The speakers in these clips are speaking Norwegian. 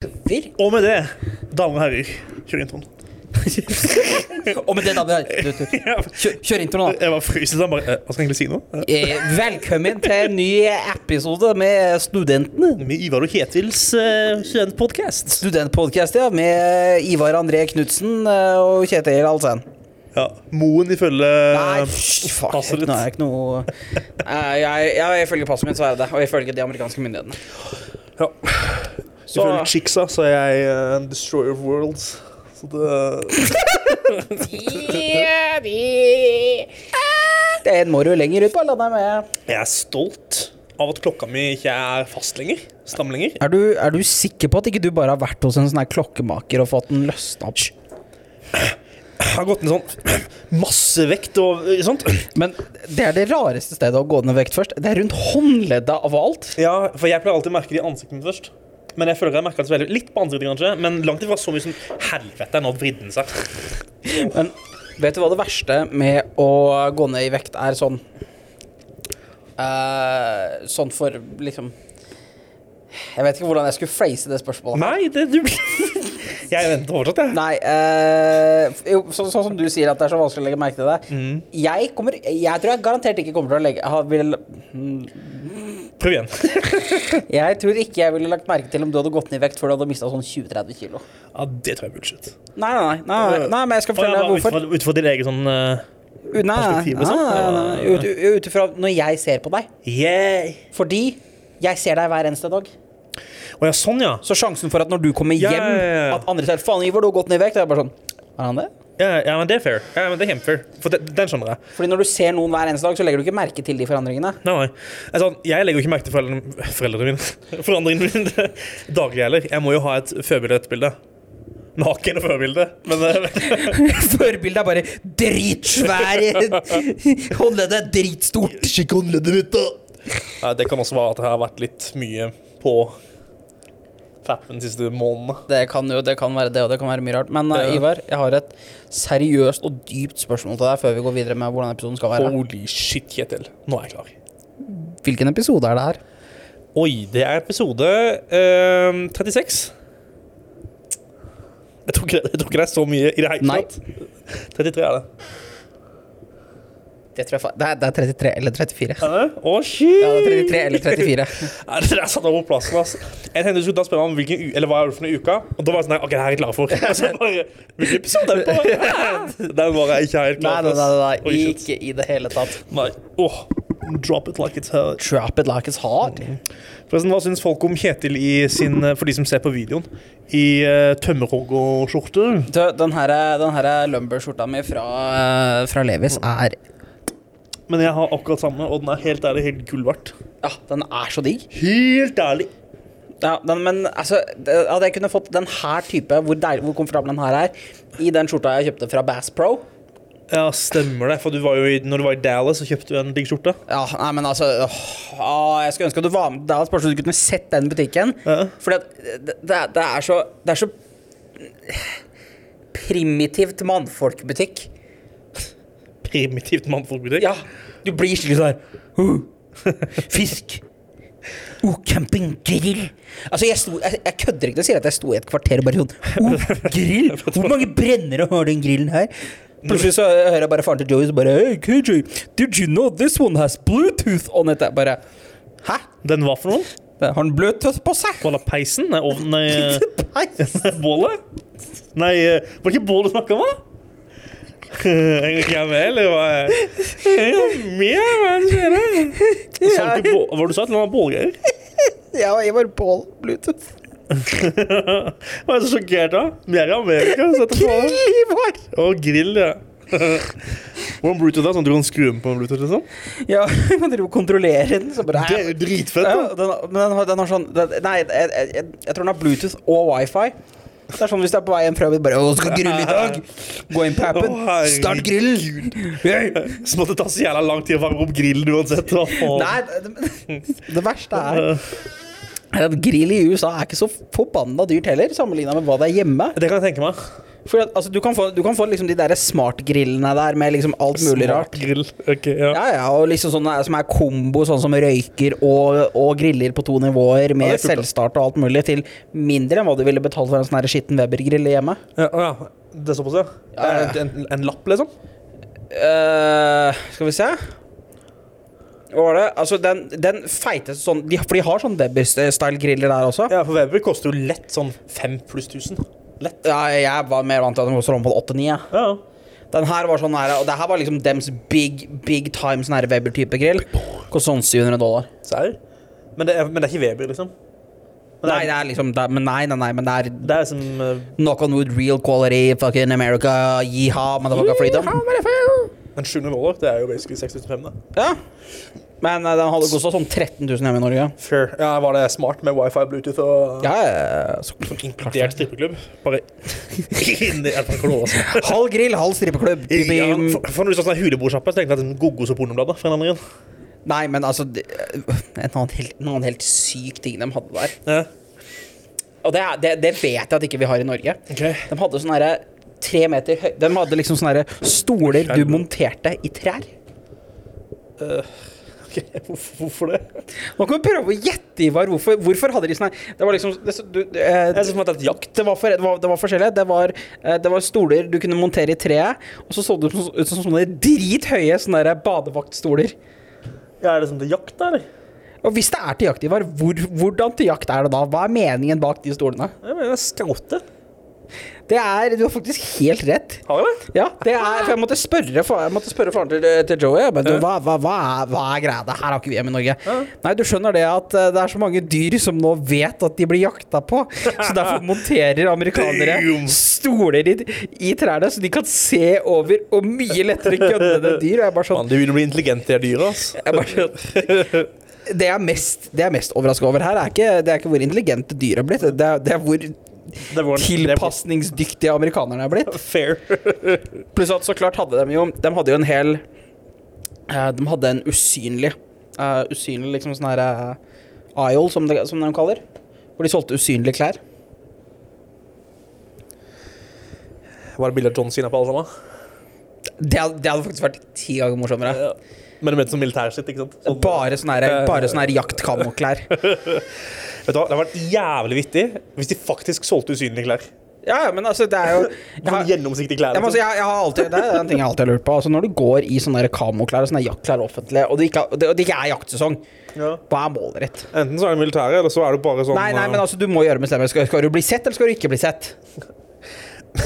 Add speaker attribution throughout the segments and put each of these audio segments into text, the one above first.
Speaker 1: hopper.
Speaker 2: Og med det, damer og herrer, kjør introen.
Speaker 1: Og med det, da Kjør, kjør introen, da.
Speaker 2: Jeg var fryset, han bare eh, Hva skal jeg egentlig si nå? Eh,
Speaker 1: Eh, Velkommen til en ny episode med Studentene.
Speaker 2: Med Ivar og Ketils eh, studentpodkast.
Speaker 1: Studentpodkast, ja. Med Ivar André Knutsen eh, og Kjetil Alsen.
Speaker 2: Ja. Moen ifølge
Speaker 1: Nei, fy, fuck.
Speaker 2: passet
Speaker 1: Jeg,
Speaker 2: ditt.
Speaker 1: nei, jeg er ikke noe Eh, jeg, jeg, Ifølge passet mitt så er jeg det. Og ifølge de amerikanske myndighetene.
Speaker 2: ja.
Speaker 1: Så-
Speaker 2: Ifølge Chicksa så er jeg eh, en destroyer of worlds. Så det
Speaker 1: Det er en må du lenger ut på landet med.
Speaker 2: Jeg er stolt av at klokka mi ikke er fast lenger. Stam lenger.
Speaker 1: Er du, er du sikker på at ikke du bare har vært hos en sånn her klokkemaker og fått den løsna opp?
Speaker 2: Jeg har gått ned sånn massevekt og eh, sånt.
Speaker 1: Men det er det rareste stedet å gå ned vekt først. Det er rundt håndledda av alt.
Speaker 2: Ja, for jeg pleier alltid å merke det i ansiktet mitt først. Men jeg føler at jeg merker det så veldig litt på ansiktet, kanskje. Men langt ifra så mye som Helvete, nå vridde den seg.
Speaker 1: Men vet du hva det verste med å gå ned i vekt er sånn eh, Sånn for liksom Jeg vet ikke hvordan jeg skulle phrase det spørsmålet.
Speaker 2: Nei, det du Jeg venter fortsatt, jeg.
Speaker 1: Nei, eh, jo, så, sånn som du sier at det er så vanskelig å legge merke til det.
Speaker 2: Mm.
Speaker 1: Jeg, kommer, jeg tror jeg garantert ikke kommer til å legge ha, vil,
Speaker 2: Prøv igjen.
Speaker 1: Jeg tror ikke jeg ville lagt merke til om du hadde gått ned i vekt før du hadde mista sånn 20-30 kilo.
Speaker 2: Ja, det tror jeg er bullshit.
Speaker 1: Nei, nei, nei, nei, nei, men jeg skal fortelle deg
Speaker 2: Å, ja,
Speaker 1: hvorfor.
Speaker 2: bare Ut fra ditt eget sånn eh,
Speaker 1: Nei, nei,
Speaker 2: perspektiv,
Speaker 1: nei,
Speaker 2: liksom.
Speaker 1: nei, nei. Ut- Ut ifra når jeg ser på deg.
Speaker 2: Yeah!
Speaker 1: Fordi jeg ser deg hver eneste dag.
Speaker 2: Å ja, sånn, ja.
Speaker 1: Så sjansen for at når du kommer
Speaker 2: Ja,
Speaker 1: hjem,
Speaker 2: ja, ja, ja.
Speaker 1: at andre sier 'faen, Ivar, du har gått ned i vekt', det er bare sånn Er han det?
Speaker 2: ja. Ja, men det er fair. Ja, men det er kjempefair. For det, den skjønner jeg.
Speaker 1: Fordi når du ser noen hver eneste dag, så legger du ikke merke til de forandringene.
Speaker 2: Nei, nei. Altså, jeg legger jo ikke merke til foreldrene, foreldrene mine Forandringene mine daglig heller. Jeg må jo ha et førbildebilde. Naken førbilde. Men eh,
Speaker 1: Forbildet er bare dritsvær. Håndleddet er dritstort.
Speaker 2: Sjekk håndleddet mitt, da! Nei, det kan også være at det har vært litt mye på fappen de siste månedene.
Speaker 1: Det kan jo det kan være det, og det kan være mye rart. Men eh,
Speaker 2: Ja.
Speaker 1: Ivar, jeg har et seriøst og dypt spørsmål til deg før vi går videre med hvordan episoden skal være.
Speaker 2: Holy shit, Kjetil. Nå er jeg klar.
Speaker 1: Hvilken episode er det her?
Speaker 2: Oi, det er episode eh, 36. Jeg tror, ikke, det- jeg tror ikke det er så mye i det hele
Speaker 1: Nei.
Speaker 2: tatt. 33 er det.
Speaker 1: Det, tror jeg, fa- det, er, det er 33 eller 34.
Speaker 2: Er det? Å, shit!
Speaker 1: Ja, det er 33 eller 34.
Speaker 2: Ja, det der satt over plassen, altså. Jeg tenkte du skulle da spørre meg om hvilken u eller hva er det for noen uka. Og da var jeg sånn, nei, ok, det her er jeg klar for. Og så bare, hvilken episode er det på? Den var jeg ikke helt
Speaker 1: Nei,
Speaker 2: klar
Speaker 1: nei,
Speaker 2: for.
Speaker 1: nei, nei,
Speaker 2: Oi,
Speaker 1: nei.
Speaker 2: shit.
Speaker 1: ikke i det hele tatt.
Speaker 2: Nei. Åh, drop it like it's hurt.
Speaker 1: Trap it like it's hard.
Speaker 2: Forresten, hva syns folk om Kjetil i sin, eh, for de som ser på videoen, i uh, tømmerhoggerskjorte?
Speaker 1: Du, den her, den her lumber-skjorta mi fra, eh, fra Levis er
Speaker 2: Men jeg har akkurat samme, og den er helt ærlig helt gull verdt.
Speaker 1: Ja, den er så digg.
Speaker 2: Helt ærlig!
Speaker 1: Ja, den, men altså, det- hadde jeg kunne fått den her type, hvor, deil, hvor komfortabel den her er, i den skjorta jeg kjøpte fra Bass Pro
Speaker 2: Ja, stemmer det. For du var jo i, når du var i Dallas, så kjøpte du en digg skjorte.
Speaker 1: Ja, nei, men altså åh, åh, Jeg skulle ønske at du var med. Det er et spørsmål du kunne sett den butikken.
Speaker 2: Ja.
Speaker 1: Fordi at eh, det, det, er- det er så Det er så primitivt mannfolkbutikk.
Speaker 2: Primitivt mannfolkbutikk.
Speaker 1: Ja, du blir skikkelig sånn uh, Fisk. Oh, camping, grill. Altså, jeg, sto, jeg, jeg kødder ikke når jeg sier at jeg sto i et kvarter og bare sånn Oh, grill! Hvor mange brennere har den grillen her? Plutselig så hører jeg bare faren til Joey som bare Hey, KJ, did you know this one has Bluetooth on it? Jeg bare Hæ?
Speaker 2: Den var for noen.
Speaker 1: Har den Bluetooth på seg?
Speaker 2: Var det peisen? Nei, ovnen? Nei,
Speaker 1: Peis.
Speaker 2: eh, bålet? Nei, eh, var det ikke bålet du snakket om, da? Jeg er ikke med, eller hva? er- Jeg er Med, hva er det som skjer her? Sa du ikke bå- Hva var det du sa? At det var bålgreier?
Speaker 1: Ja, jeg var på Bluetooth.
Speaker 2: Hva er det så sjokkert da? Vi er i Amerika, sett det på deg.
Speaker 1: Ivar!
Speaker 2: Og grill, ja. Hvordan Bluetooth er, sånn at du kan skru den på en Bluetooth, liksom?
Speaker 1: Ja, man driver og kontrollerer den, så bare
Speaker 2: Det er jo dritfett,
Speaker 1: Ja,
Speaker 2: da.
Speaker 1: den, har- men den har, den har sånn den, Nei, jeg, jeg, jeg, jeg tror den har Bluetooth og wifi. Det er sånn hvis du er på vei hjem fra jobb bare 'Å, skal grille i dag!' Gå inn på appen,
Speaker 2: Å, herregud.
Speaker 1: start grillen! Hey.
Speaker 2: Så måtte det ta så jævla lang tid å varme opp grillen uansett. Hva faen? Eh,
Speaker 1: Nei, det, det verste er at grill i USA er ikke så forbanna dyrt heller, sammenligna med hva det er hjemme.
Speaker 2: Det kan jeg tenke meg.
Speaker 1: For at, altså, du kan få, du kan få liksom de der smartgrillene der med liksom alt mulig rart.
Speaker 2: Grill. Ok, ja.
Speaker 1: Ja, ja, og liksom sånne som er kombo, sånn som røyker og, og griller på to nivåer med
Speaker 2: Ja, det er kult, da.
Speaker 1: selvstart og alt mulig, til mindre enn hva du ville betalt for en sånn her skitten Weber-grill i hjemmet.
Speaker 2: Ja, å ja. Det er såpass, ja?
Speaker 1: Ja, ja, ja.
Speaker 2: Det er En, en, en lapp, liksom?
Speaker 1: Eh, skal vi se Hva var det? Altså, den, den feiteste sånn de, For de har sånn Weber-style-griller der også.
Speaker 2: Ja, for Weber koster jo lett sånn fem pluss tusen. Lett.
Speaker 1: Ja, jeg var mer vant til at den koster om på 8-9. Ja.
Speaker 2: Ja, ja.
Speaker 1: Den her var sånn her, og det her var liksom dems big, big time sånn her Weber-type grill. Koster sånn 700 dollar.
Speaker 2: Serr? Men, det er- men det er ikke Weber, liksom? Men
Speaker 1: Nei, det er liksom det, er- men nei, nei, nei, men det er
Speaker 2: Det er som eh,
Speaker 1: knock on wood, real quality, fucking America, yeehaw, motherfucker freedom.
Speaker 2: en 700 dollar. Det er jo basically 6500. da.
Speaker 1: Ja. Men eh, den hadde kosta sånn 13 000 hjemme i Norge.
Speaker 2: Fair. Ja, var det smart med wifi, Bluetooth og
Speaker 1: Ja, ja, ja, så
Speaker 2: Sånn inkludert strippeklubb? Bare inni er det korona, altså.
Speaker 1: Halv grill, halv strippeklubb. Typ
Speaker 2: Ja,
Speaker 1: i-
Speaker 2: for, for når du sa sånn her hulebordsjappe, så tenkte jeg at en Goggos og pornoblader. for en annen grunn.
Speaker 1: Nei, men altså det- En annen helt, en annen helt syk ting de hadde der.
Speaker 2: Ja.
Speaker 1: Og det, er- det, det vet jeg at ikke vi har i Norge.
Speaker 2: Ok.
Speaker 1: De hadde sånne herre tre meter høy De hadde liksom sånne herre stoler du monterte i trær.
Speaker 2: Eh, Ok, hvorfor, hvorfor det?
Speaker 1: Nå kan vi prøve å gjette, Ivar. Hvorfor, hvorfor hadde de sånn her Det var liksom det, du, eh,
Speaker 2: Jeg synes man har tatt jakt.
Speaker 1: det var, for, det, var, det var forskjellig. Det var, eh, det var stoler du kunne montere i treet, og så så det ut som- ut som sånne drithøye sånne der badevaktstoler.
Speaker 2: Ja, er det som til jakt, da, eller?
Speaker 1: Og hvis det er til jakt, Ivar, hvor, hvordan til jakt er det da? Hva er meningen bak de stolene?
Speaker 2: Jeg mener, det er skrotte.
Speaker 1: Det er, Du har faktisk helt rett.
Speaker 2: Har jeg det?
Speaker 1: Ja, det er, for jeg måtte spørre, fa- jeg måtte spørre faren til, eh, til Joey. jeg bare, du,
Speaker 2: Ja.
Speaker 1: hva, hva, hva, er, hva er greia? Det her har ikke vi hjemme i Norge.
Speaker 2: Ja.
Speaker 1: Nei, du skjønner det at eh, det er så mange dyr som nå vet at de blir jakta på. Så derfor monterer amerikanere
Speaker 2: Damn.
Speaker 1: stoler i, i trærne, så de kan se over og mye lettere gønne det dyr. Og jeg bare sånn,
Speaker 2: Mann, de begynner å bli intelligente, de dyra. ass.
Speaker 1: jeg bare skjønner. Det jeg er mest, det jeg er mest overraska over her, er ikke, det er ikke hvor intelligente dyr er blitt. Det er, det er hvor
Speaker 2: Det er vår- det er vår-
Speaker 1: tilpasningsdyktige amerikanerne er blitt.
Speaker 2: Fair.
Speaker 1: Pluss at så klart hadde de jo De hadde jo en hel eh, De hadde en usynlig eh, Usynlig liksom sånn her eh, aisle, som, det, som de kaller. Hvor de solgte usynlige klær.
Speaker 2: Var det bilde av John Cena på alle sammen?
Speaker 1: Det, hadde- det hadde faktisk vært ti ganger morsommere.
Speaker 2: Ja. Men du mente som militær sitt, ikke sant? Sånn-
Speaker 1: Bare sånne her-
Speaker 2: Eh,
Speaker 1: bare sånne her jaktkanoklær.
Speaker 2: Vet du hva, Det hadde vært jævlig vittig hvis de faktisk solgte usynlige klær.
Speaker 1: Ja, ja, men altså, det er jo jeg
Speaker 2: Sånn
Speaker 1: har,
Speaker 2: gjennomsiktige klær.
Speaker 1: altså, jeg, må si,
Speaker 2: liksom.
Speaker 1: jeg, jeg har alltid, Det er en ting jeg alltid har lurt på. Altså, når du går i sånne her kamoklær og sånne jaktklær offentlig, og det ikke, er- og det ikke er jaktsesong,
Speaker 2: Ja.
Speaker 1: hva er målet ditt?
Speaker 2: Enten så er det militære, eller så er det bare sånn
Speaker 1: Nei, nei, men altså, du må gjøre bestemmelser. Skal, skal du bli sett, eller skal du ikke bli sett?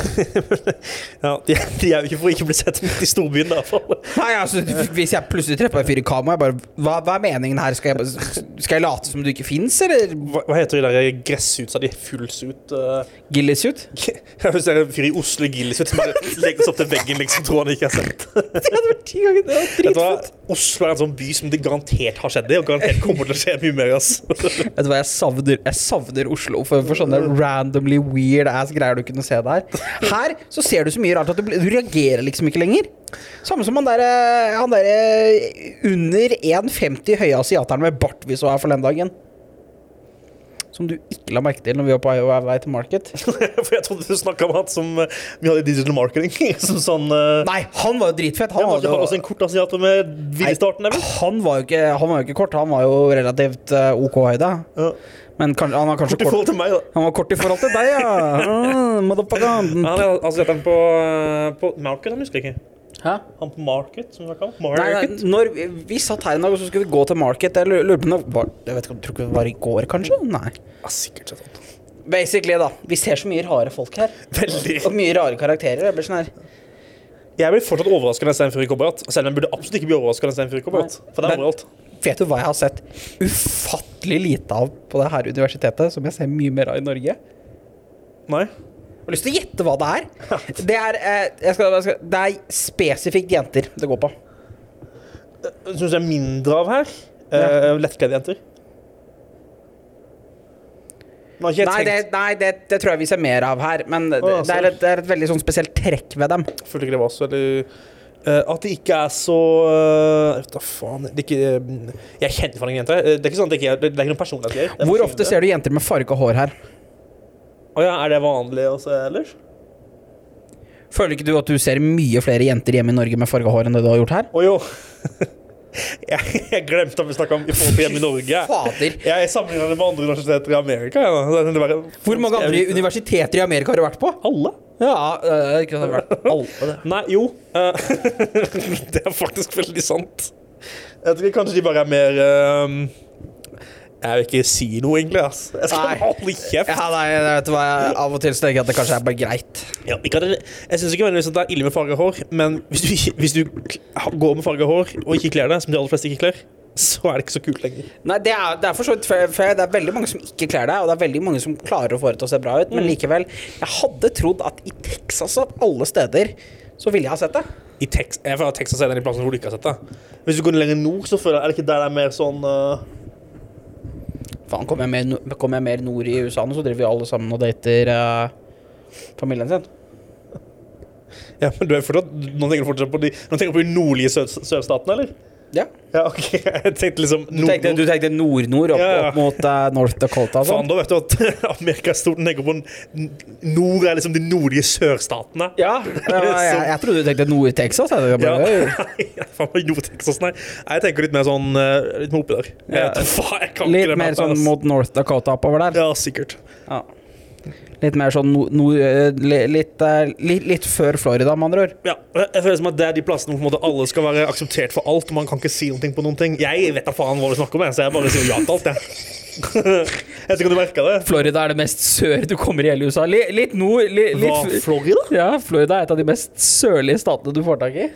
Speaker 2: ja, de, de er jo ikke for ikke å bli sett midt i storbyen, i hvert fall.
Speaker 1: Nei, altså, Hvis jeg plutselig treffer en fyr i kamera, jeg bare hva, hva er meningen her? Skal jeg, bare- skal jeg late som du ikke fins, eller
Speaker 2: Hva, hva heter de der gressuitsa? De fullsuit uh,
Speaker 1: gillisuit?
Speaker 2: Hvis det er en fyr i Oslo i gillisuit som bare legges opp til veggen, liksom, tror han ikke har sett.
Speaker 1: Det hadde vært ti ganger det var
Speaker 2: Vet du hva?
Speaker 1: dritfett.
Speaker 2: Oslo er en sånn by som det garantert har skjedd i, og garantert kommer til å skje mye mer. ass.
Speaker 1: Vet du hva, jeg savner, jeg savner Oslo for, for sånne randomly weird ass greier du kunne se der. Her så ser du så mye rart at du, blir- du reagerer liksom ikke lenger. Samme som han derre han der, eh, under 1,50 høye asiateren med bart vi så her forleden dagen. Som du ikke la merke til når vi var på vei til market.
Speaker 2: For jeg trodde du snakka om han som eh, vi hadde i digital marketing. Som sånn eh,
Speaker 1: Nei, han var jo dritfett. Han,
Speaker 2: ja,
Speaker 1: hadde
Speaker 2: Han
Speaker 1: jo-
Speaker 2: har også en kort asiater med villstarten, vel?
Speaker 1: Han var, jo ikke, han var jo ikke kort, han var jo relativt eh, OK høyde.
Speaker 2: Ja.
Speaker 1: Men kanskje, han var kanskje
Speaker 2: Kort i
Speaker 1: kort,
Speaker 2: forhold til meg, da.
Speaker 1: Han var kort i forhold til deg, ja! Ah, motherfucker.
Speaker 2: Han er asiateren på, eh, på Market, han husker jeg ikke.
Speaker 1: Hæ?
Speaker 2: Han på Market, som vi kaller
Speaker 1: Nei, nei,
Speaker 2: Market.
Speaker 1: når vi, vi satt her en dag og så skulle vi gå til market Jeg lu- lurer på om det var Jeg vet ikke, tror ikke det var i går, kanskje? Nei.
Speaker 2: Ja, sikkert sett han.
Speaker 1: Basically, da. Vi ser så mye rare folk her.
Speaker 2: Veldig.
Speaker 1: Og mye rare karakterer. Jeg blir sånn her
Speaker 2: Jeg blir fortsatt overrasket når jeg ser en fyr i cowboyhatt. Selv om jeg burde absolutt ikke bli overrasket når jeg ser en fyr i cowboyhatt.
Speaker 1: Nei.
Speaker 2: For det er
Speaker 1: Men-
Speaker 2: overalt.
Speaker 1: Vet du hva jeg har sett ufattelig lite av på det her universitetet, som jeg ser mye mer av i Norge?
Speaker 2: Nei.
Speaker 1: Jeg har lyst til å gjette hva det er. Det er, eh, jeg skal, jeg skal, det er spesifikt jenter det går på.
Speaker 2: Syns Eh, jeg er mindre av her.
Speaker 1: Ja.
Speaker 2: Eh, Lettkledde jenter. Nå har ikke jeg
Speaker 1: Nei, det,
Speaker 2: tenkt
Speaker 1: nei det, det tror jeg vi ser mer av her, men det, det,
Speaker 2: Å, sorry.
Speaker 1: er, et, det er et veldig sånn spesielt trekk ved dem.
Speaker 2: Jeg følte ikke det var så veldig eh, At det ikke er så eh, Vet da faen det er ikke, eh, Jeg kjenner faen ingen jenter. Eh, Det er ikke sånn at det ikke er, det er ikke noen personlighet her.
Speaker 1: Hvor ofte ser du jenter med farga hår her?
Speaker 2: Å ja, er det vanlig også ellers?
Speaker 1: Føler ikke du at du ser mye flere jenter hjemme i Norge med farga hår enn det du har gjort her?
Speaker 2: Å jo. Jeg, jeg glemte at vi snakka om i forhold til hjemme i Norge.
Speaker 1: Fader.
Speaker 2: Jeg sammenligna det med andre universiteter i Amerika. jeg, da. Det er bare,
Speaker 1: Hvor mange andre
Speaker 2: Jeg-
Speaker 1: universiteter i Amerika har du vært på?
Speaker 2: Alle?
Speaker 1: Ja, øh, ikke sant, det har vært alle det.
Speaker 2: Nei, jo. eh, det er faktisk veldig sant. Jeg tror kanskje de bare er mer eh, Jeg vil ikke si noe, egentlig. ass. Jeg skal
Speaker 1: Nei.
Speaker 2: holde kjeft.
Speaker 1: Ja, nei, vet du hva, jeg- av og til så tenker jeg at det kanskje er bare greit.
Speaker 2: Ja, ikke at det, jeg syns ikke nødvendigvis at det er ille med farga hår, men hvis du, ikke- hvis du går med farga hår og ikke kler det, som de aller fleste ikke kler, så er det ikke så kult lenger.
Speaker 1: Nei, det er, det er for så vidt fair, fair. Det er veldig mange som ikke kler deg, og det er veldig mange som klarer å få det til å se bra ut, men likevel. Jeg hadde trodd at i Texas, av alle steder, så ville jeg ha sett det.
Speaker 2: I Tex jeg føler at Texas er den plassen hvor du ikke har sett det. Hvis du går lenger nord, så føler jeg, er det ikke der det er mer sånn eh,
Speaker 1: Faen, kommer jeg, mer no- kom jeg mer nord i USA nå, så driver vi alle sammen og dater eh, familien sin.
Speaker 2: Ja, men du er fortsatt Nå tenker du fortsatt på de Nå tenker du på de nordlige sør sørstatene, eller?
Speaker 1: Ja.
Speaker 2: Ja, ok, jeg tenkte liksom
Speaker 1: Du tenkte, du tenkte nord-nord opp,
Speaker 2: Ja, ja.
Speaker 1: opp mot eh, North Dakota og
Speaker 2: Faen,
Speaker 1: sånn?
Speaker 2: da vet du at Amerika er stort. Den tenker på n- Nord er liksom de nordlige sørstatene.
Speaker 1: Ja, ja, jeg, jeg trodde du tenkte Nord-Texas. jeg. Jeg
Speaker 2: Ja.
Speaker 1: bare,
Speaker 2: Nei, faen meg Nord-Texas, nei. Nei, Jeg tenker litt mer sånn eh, Litt mer oppi der. Jeg
Speaker 1: Ja.
Speaker 2: vet da Faen, jeg kan
Speaker 1: Litt
Speaker 2: ikke det
Speaker 1: mer
Speaker 2: mappet,
Speaker 1: sånn
Speaker 2: ass.
Speaker 1: mot North Dakota oppover der.
Speaker 2: Ja, sikkert.
Speaker 1: Ja. Litt mer sånn no, no, eh, li- litt, eh, li, litt før Florida, med andre ord.
Speaker 2: Ja, jeg jeg føler som at Det er de plassene hvor på en måte alle skal være akseptert for alt. Man kan ikke si noe på noen ting. Jeg vet da faen hva du snakker om, jeg, så jeg bare sier ja til alt. Jeg, jeg vet ikke om du merka det.
Speaker 1: Florida er det mest sør du kommer i hele USA. Li, litt nord li,
Speaker 2: Hva,
Speaker 1: litt,
Speaker 2: Florida?
Speaker 1: Ja, Florida er et av de mest sørlige statene du får tak i.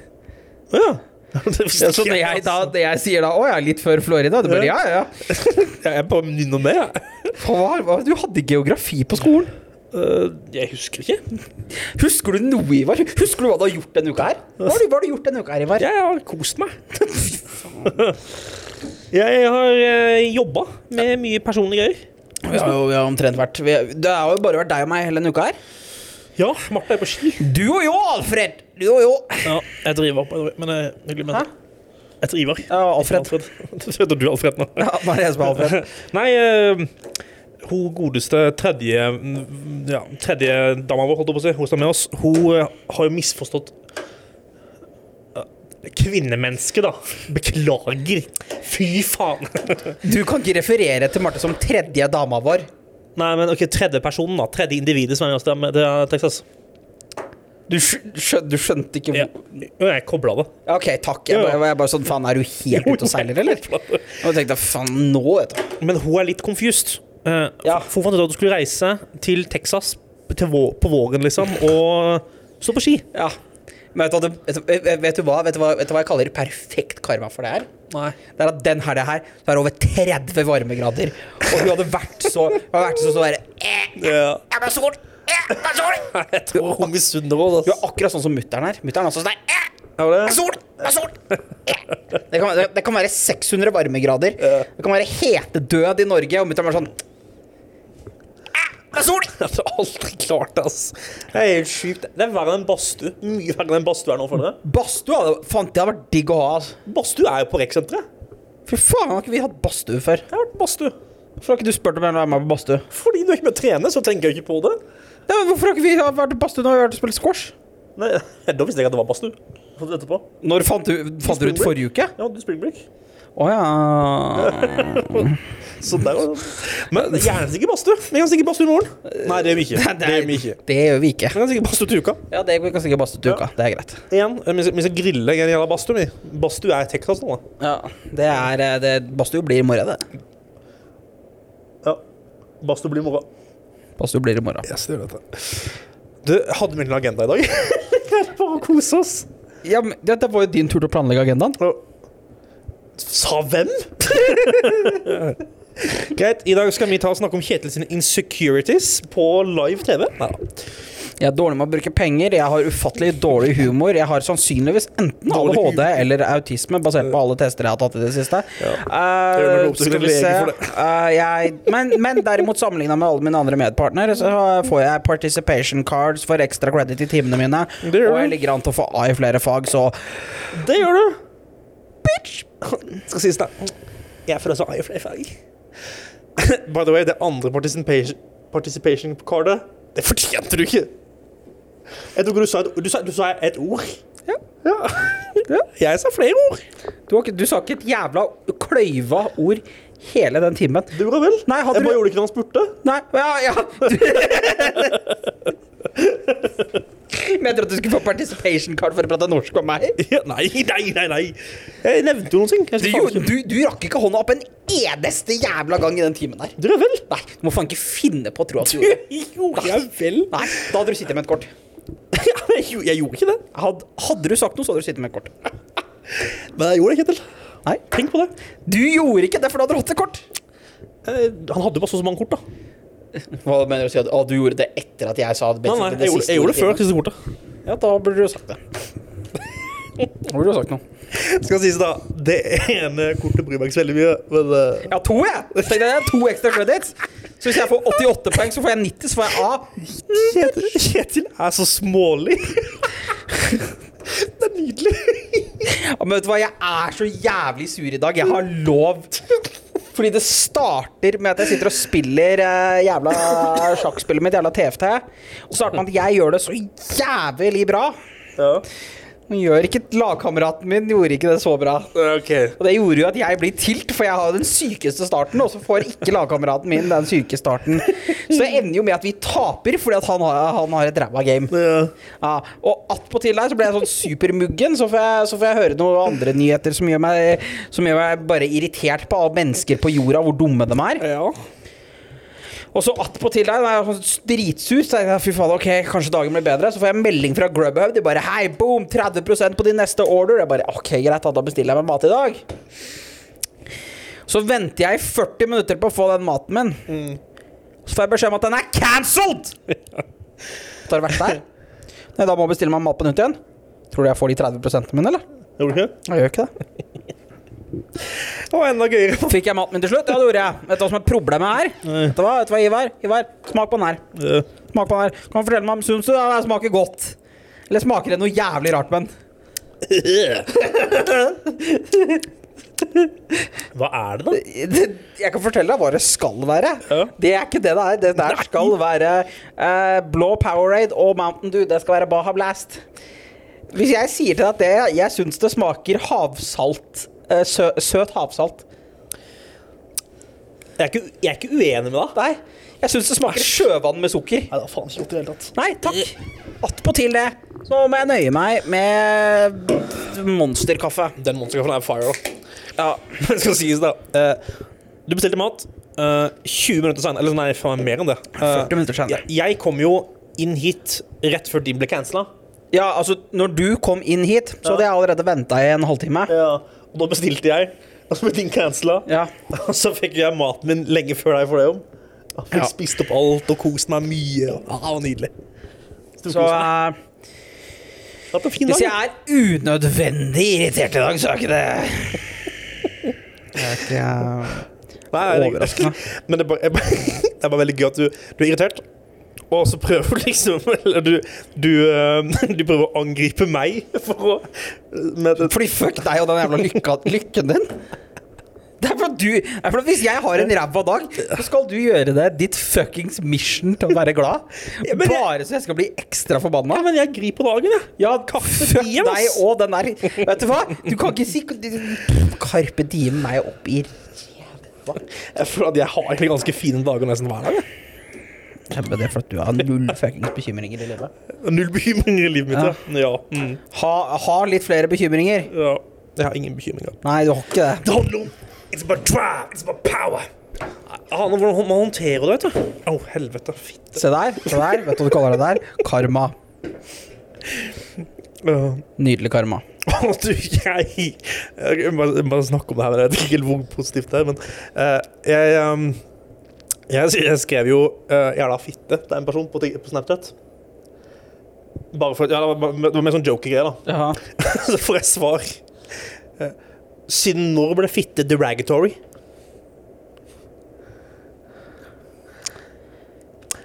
Speaker 2: Ja. Det visste
Speaker 1: Ja, så når
Speaker 2: ikke
Speaker 1: jeg, da,
Speaker 2: altså.
Speaker 1: det jeg sier da 'Å ja, litt før Florida', du bare ja, ja. ja.
Speaker 2: Jeg er bare nynner med, jeg.
Speaker 1: Faen, hva- hva- Du hadde geografi på skolen.
Speaker 2: Øh, jeg husker ikke.
Speaker 1: Husker du noe, Ivar? Husker du hva du har gjort denne uka her? Hva har du, hva har du gjort denne uka her, Ivar?
Speaker 2: Jeg har kost meg. jeg har uh, jobba med mye personlige greier.
Speaker 1: Vi har jo vi har omtrent vært vi, Det har jo bare vært deg og meg hele denne uka her.
Speaker 2: Ja, Martha er på ski.
Speaker 1: Du og jo, Alfred! Du og jo.
Speaker 2: Ja, jeg driver på, men det er hyggelig med
Speaker 1: Hæ?
Speaker 2: det. Jeg driver.
Speaker 1: Ja, Alfred.
Speaker 2: Alfred. Så heter du Alfred nå.
Speaker 1: Ja, nå er det jeg som er Alfred.
Speaker 2: Nei, øh, hun godeste tredje mm, Ja, tredje dama vår, holdt jeg på å si, hun som er med oss, hun øh, har jo misforstått øh, Kvinnemennesket, da. Beklager. Fy faen.
Speaker 1: Du kan ikke referere til Marte som tredje dama vår.
Speaker 2: Nei, men ok, tredje personen da Tredje individet som er med oss der med det er Texas
Speaker 1: Du, skj- skjø- du skjønte ikke
Speaker 2: ja.
Speaker 1: hvor
Speaker 2: Jo, Jeg koblet det
Speaker 1: Ja, OK, takk. Jeg,
Speaker 2: Ja, ja.
Speaker 1: bare- jeg var bare sånn Faen, er du helt ute og seiler, eller? Og jeg tenkte faen, nå, vet du.
Speaker 2: Men hun er litt confused Eh,
Speaker 1: Ja.
Speaker 2: for Hun fant ut at hun skulle reise til Texas til vå På våren liksom Og stå på ski
Speaker 1: Ja. Men vet du, hva det- vet, du- vet, du hva, vet, du hva, vet du hva jeg kaller perfekt karma for det her?
Speaker 2: Nei
Speaker 1: Det er at den helga her så er det over 30 varmegrader. Og hun hadde vært så Hun hadde vært så sånn derre eh,
Speaker 2: Ja
Speaker 1: Jeg ble sol! Eh, jeg ble sol!
Speaker 2: Jeg tror hun misunner oss
Speaker 1: Hun er akkurat sånn som mutter'n her. Mutter'n er også sånn der. Eh,
Speaker 2: Ja,
Speaker 1: det er
Speaker 2: det
Speaker 1: sol! Det er sol! Eh. Det kan, det, det kan være 600 varmegrader.
Speaker 2: Ja.
Speaker 1: Det kan være hetedød i Norge, og mutter'n var sånn eh, Det er sol!
Speaker 2: Jeg har aldri klart det, ass Det er helt sykt Det er verre enn Bastu Mye verre enn Bastu er nå for dere
Speaker 1: Badstue hadde- faen, det hadde vært digg å ha. Altså.
Speaker 2: Bastu er jo på reksenteret Jeg
Speaker 1: Fy faen, har ikke vi hatt badstue før?
Speaker 2: har vært på Bastu
Speaker 1: Hvorfor har ikke du spurt om jeg vil være med på badstue?
Speaker 2: Fordi du er ikke med å trene Så tenker jeg ikke på det
Speaker 1: Ja, men hvorfor har ikke vi vært på badstue når vi har vært og spilt squash?
Speaker 2: Nei, da visste jeg ikke at det var Bastu Jeg fant det etterpå
Speaker 1: Når fant du, fant du ut forrige uke?
Speaker 2: Jeg hadde springbrekk
Speaker 1: Å ja
Speaker 2: Så der var Men gjerne stikke badstue. Vi kan stikke badstue i morgen. Nei, det gjør vi ikke. Det gjør vi ikke.
Speaker 1: Det gjør vi ikke.
Speaker 2: Vi kan stikke badstue til uka.
Speaker 1: Ja, det vi kan sikkert badstue til uka. Det er greit.
Speaker 2: Igjen, eh, vi skal, vi skal grille en jævla badstue. vi. Badstue er Texas nå, da.
Speaker 1: Ja, det er eh, det, Badstue blir i morgen, det.
Speaker 2: Ja. Badstue blir moro.
Speaker 1: Badstue blir i morgen.
Speaker 2: Yes, det gjør dette. Du, hadde vi en agenda i dag? Bare å kose oss.
Speaker 1: Ja, men det, det var jo din tur til å planlegge agendaen.
Speaker 2: Og- Sa hvem? Greit, i dag skal vi ta og snakke om Kjetil sine insecurities på live TV. Neida.
Speaker 1: Jeg er dårlig med å bruke penger, jeg har ufattelig dårlig humor. Jeg har sannsynligvis enten
Speaker 2: Dårlig
Speaker 1: ADHD eller autisme, basert på alle tester jeg har tatt i det siste. Eh,
Speaker 2: Det gjør meg opp til
Speaker 1: skal vi
Speaker 2: en lege
Speaker 1: se.
Speaker 2: for det.
Speaker 1: Eh, jeg, men, men derimot, sammenligna med alle mine andre medpartnere, så får jeg participation cards for ekstra credit i timene mine.
Speaker 2: Det gjør
Speaker 1: Og jeg
Speaker 2: du.
Speaker 1: ligger an til å få A i flere fag, så
Speaker 2: Det gjør du. Bitch. Skal sies, da. Jeg får også A i flere fag. By the way, det andre participation, participation cardet, det fortjente du ikke. Jeg tror ikke du sa et, du sa, du sa et ord.
Speaker 1: Ja.
Speaker 2: ja. Jeg sa flere ord.
Speaker 1: Du, har ikke, du sa ikke et jævla kløyva ord hele den timen.
Speaker 2: Du gjorde vel?
Speaker 1: Nei, hadde
Speaker 2: jeg
Speaker 1: du-
Speaker 2: bare gjorde det ikke når han spurte.
Speaker 1: Nei, ja, ja. Du... Mente at du skulle få participation card for å prate norsk med meg?
Speaker 2: Ja, nei, nei, nei, nei. Jeg nevnte jo noen ting. Jeg
Speaker 1: Du,
Speaker 2: skal
Speaker 1: gjorde-
Speaker 2: faen ikke-
Speaker 1: du, du rakk ikke hånda opp en eneste jævla gang i den timen der.
Speaker 2: Du gjorde vel?
Speaker 1: Nei, du må faen ikke finne på å tro at du gjorde det.
Speaker 2: gjorde jeg vel?
Speaker 1: Nei, da hadde du sittet med et kort.
Speaker 2: Ja, men jeg, gjo- jeg gjorde ikke det.
Speaker 1: Hadde, hadde du sagt noe, så hadde du sittet med et kort.
Speaker 2: Men jeg gjorde det, Kjetil.
Speaker 1: Nei.
Speaker 2: Tenk på det.
Speaker 1: Du gjorde ikke det, for da hadde du hatt et kort.
Speaker 2: Eh, han hadde jo bare så og så mange kort, da. Nei,
Speaker 1: Hva mener du å si? At, å, du gjorde det etter at jeg sa det?
Speaker 2: nei, jeg, gjorde, jeg gjorde det før siste kortet.
Speaker 1: Ja, da burde du sagt det. Da burde du sagt noe.
Speaker 2: Skal sies, da. Det ene kortet bryr meg ikke så veldig mye, men eh,
Speaker 1: Jeg har to, jeg! Tenkte jeg, jeg har to ekstra credits. Så hvis jeg får 88 poeng, så får jeg 90, så får jeg A.
Speaker 2: Kjetil, Kjetil er så smålig. det er nydelig.
Speaker 1: Ja, men vet du hva, jeg er så jævlig sur i dag. Jeg har lov. Fordi det starter med at jeg sitter og spiller eh, jævla sjakkspillet mitt, jævla TFT. Og så starter man at jeg gjør det så jævlig bra.
Speaker 2: Ja.
Speaker 1: Men gjør ikke Lagkameraten min gjorde ikke det så bra.
Speaker 2: Ok.
Speaker 1: Og det gjorde jo at jeg blir tilt, for jeg har den sykeste starten, og så får ikke lagkameraten min den syke starten. Så det ender jo med at vi taper, fordi at han har, han har et ræva game.
Speaker 2: Ja.
Speaker 1: Ja, og attpåtil der så ble jeg sånn supermuggen, så får jeg, så får jeg høre noen andre nyheter som gjør, meg, som gjør meg bare irritert på alle mennesker på jorda, hvor dumme de er.
Speaker 2: ja.
Speaker 1: Og så attpåtil der, da er jeg sånn dritsur, så tenker jeg fy faen, ok, kanskje dagen blir bedre. Så får jeg en melding fra Grubhub, de bare hei, boom, 30 på din neste order. Jeg bare ok, greit, da, da bestiller jeg meg mat i dag. Så venter jeg i 40 minutter på å få den maten min. Så får jeg beskjed om at den er cancelled! Så har det vært der. Nei, da må jeg bestille meg mat på nytt igjen. Tror du jeg får de 30 mine, eller?
Speaker 2: Gjorde du ikke? det?
Speaker 1: Jeg gjør ikke det.
Speaker 2: Det var enda gøyere.
Speaker 1: Fikk jeg maten min til slutt? Ja, det gjorde jeg. Vet du hva som er problemet her? Vet du hva, vet du hva Ivar? Ivar, smak på den her.
Speaker 2: Ja.
Speaker 1: Smak på den her. Kan du fortelle meg om syns du det her smaker godt? Eller smaker det noe jævlig rart, men?
Speaker 2: Hva er det, da?
Speaker 1: Jeg kan fortelle deg hva det skal være.
Speaker 2: Ja.
Speaker 1: Det er ikke det det er. Det der skal være eh, blå Powerade og Mountain Dew. Det skal være Baha Blast. Hvis jeg sier til deg at det, jeg syns det smaker havsalt eh, sø, Søt havsalt.
Speaker 2: Jeg er ikke, jeg er ikke uenig med deg.
Speaker 1: Nei, jeg syns det smaker sjøvann med sukker.
Speaker 2: Nei, det har faen ikke gjort det i det hele tatt.
Speaker 1: Nei, takk. Attpåtil det, så må jeg nøye meg med monsterkaffe.
Speaker 2: Den monsterkaffen er fire.
Speaker 1: Ja.
Speaker 2: Men det skal sies, da. Eh, du bestilte mat. eh, 20 minutter senere Eller nei, faen, mer enn det. Eh,
Speaker 1: 40 minutter senere.
Speaker 2: Jeg, jeg kom jo inn hit rett før din ble cancela.
Speaker 1: Ja, altså, når du kom inn hit, så hadde jeg allerede venta i en halvtime.
Speaker 2: Og da bestilte jeg, og så ble din cancela.
Speaker 1: Ja.
Speaker 2: Og så fikk jeg maten min lenge før deg for det om. Jeg fikk
Speaker 1: Ja.
Speaker 2: spist opp alt og kost meg mye. og- Ja, det var nydelig. Stor
Speaker 1: Så
Speaker 2: kos meg.
Speaker 1: eh,
Speaker 2: Det har vært en fin
Speaker 1: hvis
Speaker 2: dag.
Speaker 1: jeg er unødvendig irritert i dag, så er ikke det Det er ikke
Speaker 2: Nei, det-
Speaker 1: Overraskende.
Speaker 2: Men det er, bare, jeg bare, det er bare veldig gøy at du, du er irritert. Og så prøver du liksom Eller du, du, eh, du prøver å angripe meg for å med et,
Speaker 1: Fordi fuck deg og den jævla lykka, lykken din. Det er for at du det er for at Hvis jeg har en ræva dag, så skal du gjøre det ditt fuckings mission til å være glad.
Speaker 2: Ja, men jeg-
Speaker 1: Bare så jeg skal bli ekstra forbanna.
Speaker 2: Ja, men jeg griper dagen, jeg.
Speaker 1: Ja, Carpe
Speaker 2: diem,
Speaker 1: diem,
Speaker 2: ass.
Speaker 1: deg og den der Vet du hva? Du kan ikke si Carpe diem meg opp i ræva.
Speaker 2: Jeg føler at jeg har egentlig ganske fine dager nesten hver dag. jeg.
Speaker 1: Kjempe det for at du har null fuckings bekymringer i livet.
Speaker 2: Null bekymringer i livet mitt. Ja. Ja. Mm,
Speaker 1: Ha, ha litt flere bekymringer.
Speaker 2: ja. Jeg har ingen bekymringer.
Speaker 1: Nei, du har ikke det.
Speaker 2: Det handler om It's about drive, it's about power. Jeg aner hvordan man håndterer det, vet du. Å, helvete. Fitte.
Speaker 1: Se der. se der, Vet du hva du kaller det der? Karma.
Speaker 2: Ja.
Speaker 1: Nydelig karma.
Speaker 2: Å, du, jeg Jeg må jeg må bare snakke om det her, jeg vet ikke helt hvor positivt det er, men eh, jeg, ehm, jeg, jeg skrev jo eh, 'jævla fitte' til en person på, Tik- på Snapchat. Bare for, ja, det, var, det var mer sånn joker-greier, da.
Speaker 1: Jaha.
Speaker 2: Så får jeg svar. Eh, Siden når ble fitte derogatory?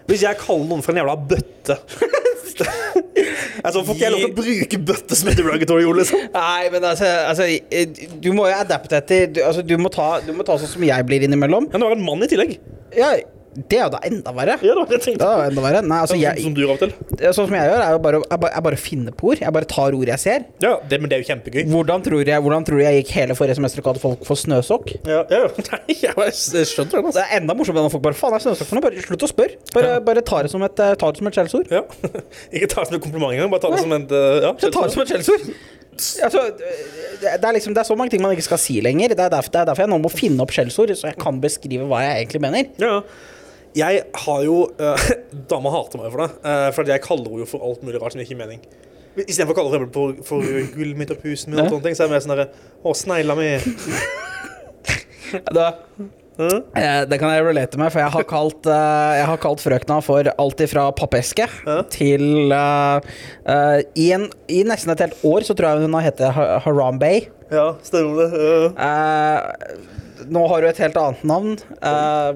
Speaker 2: Hvis jeg kaller noen for en jævla bøtte Altså, Får ikke jeg lov til å bruke bøtte som et derogatory ord, liksom?
Speaker 1: Nei, men altså, altså eh, Du må jo adapte etter du, altså, du, må ta, du må ta sånn som jeg blir innimellom.
Speaker 2: Men det var en mann i tillegg.
Speaker 1: Ja, Det er jo da enda verre.
Speaker 2: Ja, det var det jeg
Speaker 1: Det
Speaker 2: tenkte.
Speaker 1: er jo enda verre. Nei, altså,
Speaker 2: Sånn
Speaker 1: jeg,
Speaker 2: som du gjør av og til.
Speaker 1: sånn som jeg gjør, er jo bare, å- jeg bare, jeg bare finner på ord. Jeg bare tar ord jeg ser.
Speaker 2: Ja, det, men det er jo kjempegøy.
Speaker 1: Hvordan tror jeg, hvordan tror du jeg gikk hele forrige semester og kalte folk for snøsokk?
Speaker 2: Ja, ja. Nei, jeg bare
Speaker 1: eh,
Speaker 2: skjønner det. altså.
Speaker 1: Det er enda morsommere når folk bare faen er snøsokk for noe. Bare slutt å spørre. Bare, bare ta det som et, eh, ta det som et skjellsord.
Speaker 2: Ja. Ikke ta det som en kompliment engang, bare ta det
Speaker 1: Nei.
Speaker 2: som en eh, ja,
Speaker 1: Så ta det som et skjellsord. Altså, det det er liksom, det er så mange ting man ikke skal si lenger. Det er derfor, det er derfor jeg nå må finne opp skjellsord, så jeg kan beskrive hva jeg egentlig mener.
Speaker 2: Ja. Jeg har jo eh, Dama hater meg for det. eh, for at jeg kaller henne jo for alt mulig rart som ikke gir mening. Istedenfor å kalle henne for, eksempel for, for gull mitt og pusen min, og alt sånne ting, så er jeg mer sånn derre Å, snegla mi.
Speaker 1: Da, eh, det kan jeg relate med, for jeg har kalt, eh, jeg har kalt frøkna for alt ifra pappeske til eh, eh, i, en, I nesten et helt år så tror jeg hun har hett Ha- Harambe.
Speaker 2: Ja, stemmer det. ja.
Speaker 1: Eh, nå har hun et helt annet navn. Eh,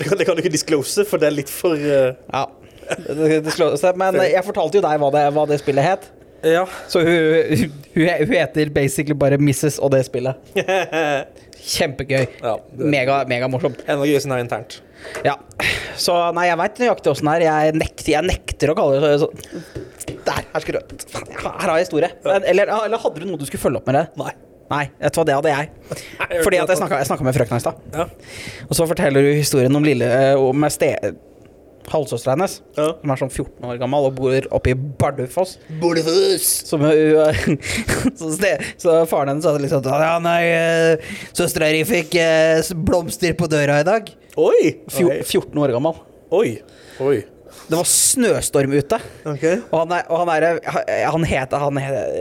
Speaker 2: det, kan, det kan du ikke disclose, for det er litt for eh,
Speaker 1: ja. Det- det slår seg, Men jeg fortalte jo deg hva det, hva det spillet het.
Speaker 2: Ja.
Speaker 1: Så hun, hun, hun heter basically bare Mrs. og det spillet. Kjempegøy.
Speaker 2: ja det,
Speaker 1: Mega, mega morsomt.
Speaker 2: en av gøyeste er internt.
Speaker 1: Ja. Så nei, jeg veit nøyaktig åssen det er. Jeg nekter, jeg nekter å kalle det så, så. Der, her skal du Faen, Her har jeg historie. Men- Eller, eller hadde du noe du skulle følge opp med det?
Speaker 2: Nei.
Speaker 1: Nei, vet du hva, det hadde jeg.
Speaker 2: jeg
Speaker 1: Fordi
Speaker 2: hørte
Speaker 1: at jeg
Speaker 2: det.
Speaker 1: snakka, jeg snakka med frøkna i stad.
Speaker 2: Ja.
Speaker 1: Og så forteller du historien om lille eh, Om ste... Halvsøstera hennes,
Speaker 2: Ja.
Speaker 1: som er sånn 14 år gammel og bor oppe i Bardufoss.
Speaker 2: Bolefus.
Speaker 1: Som, hun- så, ste, så faren hennes hadde liksom Ja, nei, eh, søstera di fikk eh, s- blomster på døra i dag.
Speaker 2: Oi.
Speaker 1: Fjo, 14 år gammel.
Speaker 2: Oi. Oi.
Speaker 1: Det var snøstorm ute.
Speaker 2: Ok.
Speaker 1: Og han er, og han, er han heter Han heter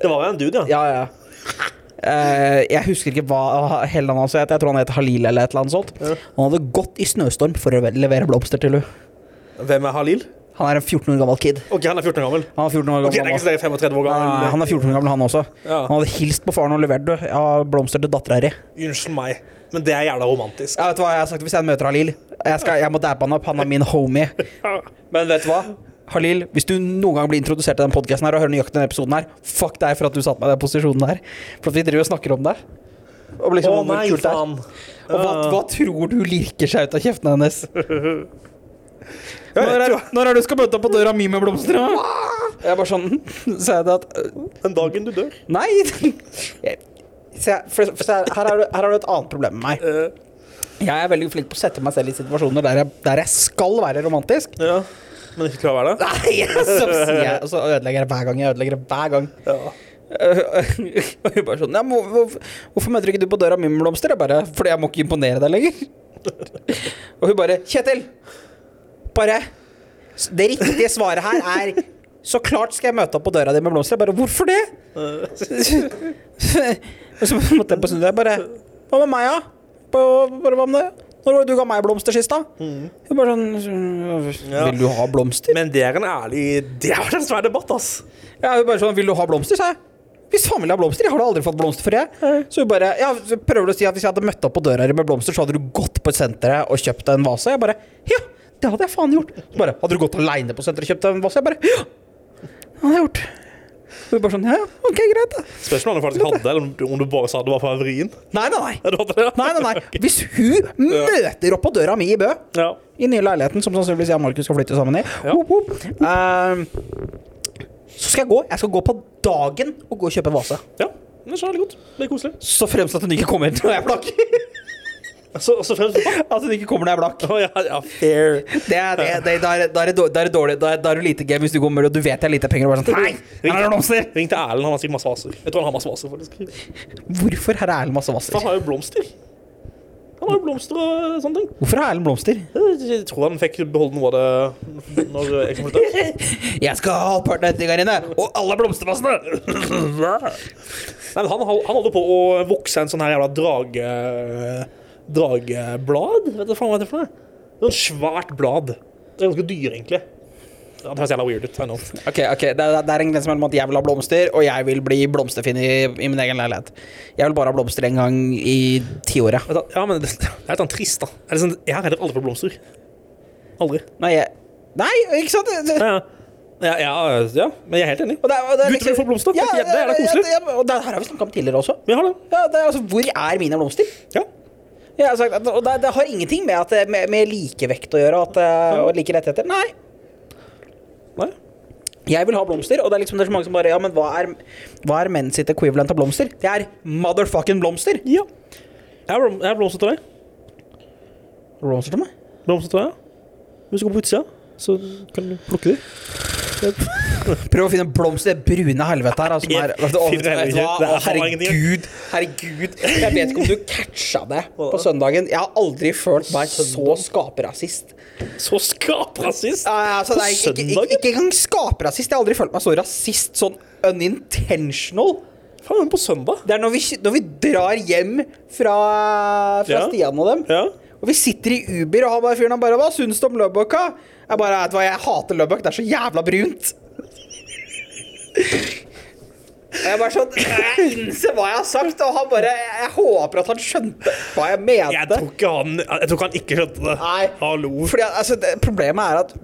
Speaker 2: Det var jo en dude, ja.
Speaker 1: Ja, ja. Eh, jeg husker ikke hva hele navnet hans het. Jeg tror han het Halil eller et eller annet sånt.
Speaker 2: Ja.
Speaker 1: Han hadde gått i snøstorm for å levere blomster til henne.
Speaker 2: Hvem er Halil?
Speaker 1: Han er en 14 år gammel kid.
Speaker 2: OK, han er 14 år gammel.
Speaker 1: Han er 14 år gammel.
Speaker 2: Ok, det er
Speaker 1: han
Speaker 2: ikke
Speaker 1: også.
Speaker 2: så det er 35 år
Speaker 1: Nei,
Speaker 2: gammel.
Speaker 1: nei, nei, han er 14 år gammel, han også.
Speaker 2: Ja.
Speaker 1: Han hadde hilst på faren og levert du, ja, blomster til dattera di.
Speaker 2: Unnskyld meg, men det er jævla romantisk.
Speaker 1: Ja, vet du hva jeg har sagt hvis jeg møter Halil? Jeg, skal, jeg må dabbe han opp. Han er min homie. Men vet du hva? Halil, hvis du noen gang blir introdusert til den podcasten her og hører nøyaktig denne episoden her, fuck deg for at du satte meg i den posisjonen her. For at vi driver og snakker om det. Og liksom,
Speaker 2: Å
Speaker 1: om hvor
Speaker 2: nei,
Speaker 1: kult det er.
Speaker 2: faen. Eh,
Speaker 1: Og hva, hva tror du lirker seg ut av kjeften hennes?
Speaker 2: Jeg
Speaker 1: Når
Speaker 2: vet
Speaker 1: er,
Speaker 2: jo.
Speaker 1: når er du skal møte opp på døra mi med blomster? da? Jeg er bare sånn Så er det at øh,
Speaker 2: Den dagen du dør.
Speaker 1: Nei! Jeg- Se, for, for, se, her har du her har du et annet problem med meg.
Speaker 2: Eh,
Speaker 1: Jeg er veldig flink på å sette meg selv i situasjoner der jeg, der jeg skal være romantisk.
Speaker 2: ja. Men ikke klarer å være det?
Speaker 1: Nei, så sier jeg Og så ødelegger jeg hver gang. Jeg ødelegger det hver gang.
Speaker 2: Ja.
Speaker 1: Øh, øh, Og hun bare sånn ja, men hvor- hvor- Hvorfor møter ikke du på døra mi med blomster? Jeg bare Fordi jeg må ikke imponere deg lenger. Og hun bare Kjetil! Bare s- Det riktige svaret her er Så klart skal jeg møte opp på døra di med blomster. Jeg bare Hvorfor det?
Speaker 2: Eh,
Speaker 1: Og så måtte jeg på snu deg. Bare Hva med meg, da? På- Bare hva med det? Når var det du ga meg blomster sist, da? Hun bare sånn
Speaker 2: Ja.
Speaker 1: Vil du ha blomster?
Speaker 2: Men det er en ærlig Det har vært en svær debatt, ass.
Speaker 1: Ja, hun bare sånn, vil du ha blomster, sa jeg. Hvis faen vil jeg ha blomster, jeg har da aldri fått blomster før jeg. Så hun bare, ja, så prøver du å si at hvis jeg hadde møtt opp på døra her med blomster, så hadde du gått på senteret og kjøpt en vase? Jeg bare, ja, det hadde jeg faen gjort. Så bare, hadde du gått alene på senteret og kjøpt en vase? Jeg bare, ja, det hadde jeg gjort. Hun bare sånn, ja, ja, ok, greit da.
Speaker 2: Spørs om du faktisk hadde, eller om du- om du bare sa det var for vrien.
Speaker 1: Nei, nei, nei.
Speaker 2: Ja, du hadde det, ja.
Speaker 1: Nei, nei, nei. Hvis hun møter opp på døra mi i Bø,
Speaker 2: Ja.
Speaker 1: i den nye leiligheten, som sannsynligvis jeg og Markus skal flytte sammen i.
Speaker 2: Ja.
Speaker 1: Whoop, whoop. Ehm, så skal jeg gå. Jeg skal gå på dagen og gå og kjøpe en vase.
Speaker 2: ja. Det skjønner jeg godt. Det er koselig.
Speaker 1: Så fremst at hun ikke kommer når jeg er blakk.
Speaker 2: Så, så fremst
Speaker 1: At hun ikke kommer når jeg er blakk.
Speaker 2: Å, ja, ja, fair.
Speaker 1: Det er, det, det, da er- da er det dårlig- da er det dårlig Da er da er du lite game hvis du kommer og du vet jeg har lite penger. Og bare sånn, Nei, her er det blomster
Speaker 2: Ring til Erlend, han har sikkert masse vaser. Jeg tror han har masse vaser, faktisk.
Speaker 1: Hvorfor har Erlend masse
Speaker 2: For
Speaker 1: vasser?
Speaker 2: han har jo blomster. Han har jo blomster og sånne ting.
Speaker 1: Hvorfor har Erlend blomster?
Speaker 2: Jeg tror han fikk beholde noe av det når jeg kom ut.
Speaker 1: Jeg skal ha halvparten av dette her inne, og alle blomstervassene!
Speaker 2: Nei, men han, hol- han holder på å vokse en sånn her jævla drage... Drageblad? Vet du faen hva det er for noe? Sånn svært blad. Det er ganske dyr, egentlig. Ja, det høres jævla weird ut. I know.
Speaker 1: Ok, ok, det, er- det er en grense mellom at jeg vil ha blomster, og jeg vil bli blomsterfin i, i min egen leilighet. Jeg vil bare ha blomster en gang i tiåret.
Speaker 2: Vet du hva, Ja, men det, det er litt sånn trist, da. Det er litt sånn, jeg har heller aldri fått blomster. Aldri.
Speaker 1: Nei, jeg, nei, ikke sant? Det- det-
Speaker 2: Ja, ja, ja, ja, men jeg er helt enig.
Speaker 1: og det er- og det er liksom-
Speaker 2: Gutter vil få blomster.
Speaker 1: Ja,
Speaker 2: Det er jævla- det er jævla koselig.
Speaker 1: ja, ja, og det her har vi snakka om tidligere også.
Speaker 2: Vi har det.
Speaker 1: Ja, det er altså, Hvor er mine blomster?
Speaker 2: Ja.
Speaker 1: Jeg har sagt at, og det, det har ingenting med, at, det- med, med likevekt å gjøre at, eh, og like rettigheter. Nei.
Speaker 2: Nei.
Speaker 1: Jeg vil ha blomster, og det er liksom det er så mange som bare Ja, men hva er, hva er menn sitt equivalent av blomster? Det er motherfucking blomster!
Speaker 2: Ja. Jeg har blom- jeg har blomster til deg.
Speaker 1: Blomster til meg?
Speaker 2: Blomster til deg. Hvis du går på utsida, så kan du plukke dem.
Speaker 1: Prøv å finne en blomst i det brune helvetet her. Altså, som er,
Speaker 2: Jeg
Speaker 1: Å,
Speaker 2: finner
Speaker 1: vet du hva?
Speaker 2: ikke. Det er
Speaker 1: Å, herregud, herregud. Jeg vet ikke om du catcha det på søndagen. Jeg har aldri følt meg så skaperasist.
Speaker 2: Så skaprasist!
Speaker 1: Ja, ja, altså, det
Speaker 2: På
Speaker 1: er ikke, ikke,
Speaker 2: søndagen?
Speaker 1: ikke, ikke engang skaperasist. Jeg har aldri følt meg så rasist. Sånn unintentional.
Speaker 2: Faen, men på søndag?
Speaker 1: Det er når vi, når vi drar hjem fra, fra
Speaker 2: Ja.
Speaker 1: Stian og dem,
Speaker 2: Ja.
Speaker 1: og vi sitter i Uber, og han bare fyren han bare 'Hva syns du om Løbbøk?' da?» Jeg bare vet du hva, jeg hater Løbbøk. Det er så jævla brunt. Jeg bare sånn Jeg innser hva jeg har sagt, og han bare Jeg, jeg håper at han skjønte hva jeg mente.
Speaker 2: Jeg tror ikke han, jeg tror ikke, han ikke skjønte det.
Speaker 1: Nei.
Speaker 2: Hallo.
Speaker 1: Fordi, altså, det, problemet er at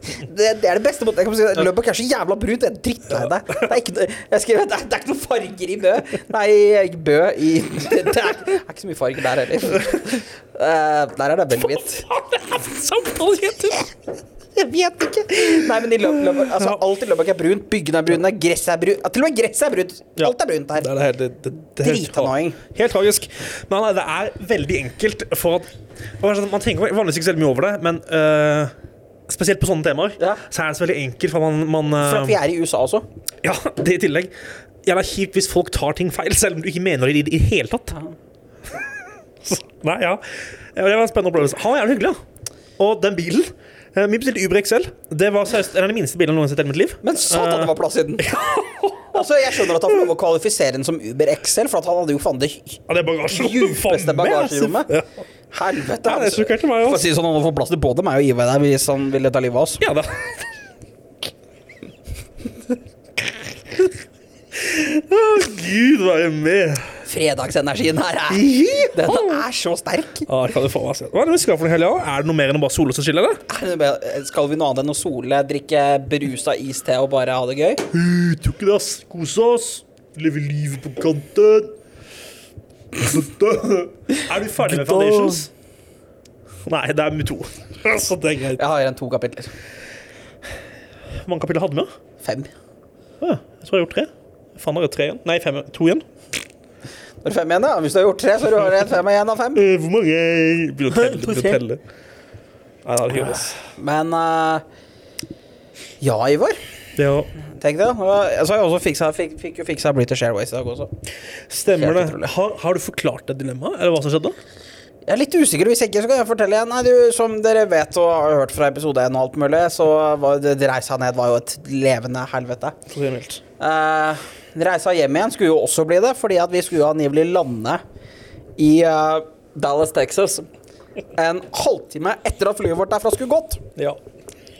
Speaker 1: det, det er det beste måten jeg kan si det. Løbbak er så jævla brunt. Jeg er drittlei deg. Det er ikke, noe- jeg skrev, at det, er, det er ikke noen farger i Bø. Nei, i Bø i Det, det, er, det er ikke så mye farger der heller. Eh, der er det veldig hvitt.
Speaker 2: Faen, det er samtalejeter!
Speaker 1: Jeg vet ikke. Nei, men i Løb, Løbbak- altså, alt i Løbbak er brunt. Byggene er brune. Gresset er brunt. Til og med gresset er brunt.
Speaker 2: Ja.
Speaker 1: Alt er brunt
Speaker 2: Det
Speaker 1: her.
Speaker 2: er det, helt- det, det, det er helt tra-
Speaker 1: Dritannoying.
Speaker 2: Helt tragisk. Men nei, det er veldig enkelt for at for at Man tenker vanligvis ikke så veldig mye over det, men øh, spesielt på sånne temaer
Speaker 1: Ja.
Speaker 2: så er det så veldig enkelt, for man, man
Speaker 1: For
Speaker 2: øh,
Speaker 1: at vi er i USA også.
Speaker 2: Ja, det i tillegg. Jævla kjipt hvis folk tar ting feil, selv om du ikke mener det i det hele tatt. Så, Nei, ja. Ja, Det var en spennende opplevelse. Han var jævlig hyggelig, da. Og den bilen eh, Vi bestilte Uber XL. Det var seriøst en av de minste bilene jeg noensinne har sett i mitt liv.
Speaker 1: Men satan, det var plass i den! Altså, jeg skjønner at han får lov å kvalifisere den som Uber XL, for at han hadde jo faen det
Speaker 2: Ja, det er bagasjerommet.
Speaker 1: djupeste
Speaker 2: faen meg,
Speaker 1: bagasjerommet.
Speaker 2: altså.
Speaker 1: Helvete.
Speaker 2: Ja, det sjokkerte meg også.
Speaker 1: For å si det sånn, han hadde fått plass til både meg og Ivar der hvis han ville ta livet av oss.
Speaker 2: Ja, da. Å, Gud, være med.
Speaker 1: Fredagsenergien her er Denne er så sterk.
Speaker 2: Ah, kan du få meg se. Hva er det vi skal for noe helga? Er det noe mer enn å bare sole oss og chille? eller?
Speaker 1: Er det bare- Skal vi noe annet enn å sole, drikke brusa iste og bare ha det gøy?
Speaker 2: Uh, tror ikke det, ass. Kose oss. Leve livet på kanten. er du ferdig med Foundations? Nei, det er med to. Så det er greit.
Speaker 1: Jeg har igjen to kapitler.
Speaker 2: Hvor mange kapitler hadde vi? da?
Speaker 1: Fem.
Speaker 2: Ah, jeg tror jeg har gjort tre. Faen, har jeg tre igjen? Nei, fem, to igjen.
Speaker 1: Når fem igjen, da? Hvis du har gjort tre, så har du en fem igjen av fem.
Speaker 2: Eh, hvor mange Begynner å telle.
Speaker 1: To,
Speaker 2: Begynner å
Speaker 1: tre.
Speaker 2: telle. Nei, det er hyggelig, ass.
Speaker 1: Men eh, ja, Ivar.
Speaker 2: Det å
Speaker 1: Tenk det. Og Så har jeg også fiksa, fikk, fikk jo fiksa British Airways i dag også.
Speaker 2: Stemmer
Speaker 1: Helt
Speaker 2: det.
Speaker 1: utrolig.
Speaker 2: Har, har du forklart det dilemmaet, eller hva som skjedde?
Speaker 1: Jeg er litt usikker, hvis ikke så kan jeg fortelle igjen. Nei, du, som dere vet og har hørt fra episode 1 og alt mulig, så var det, det reisa ned var jo et levende helvete.
Speaker 2: For å si det mildt.
Speaker 1: Eh, reisa hjem igjen skulle jo også bli det, fordi at vi skulle jo angivelig lande i eh, Dallas, Texas. En halvtime etter at flyet vårt derfra skulle gått.
Speaker 2: Ja.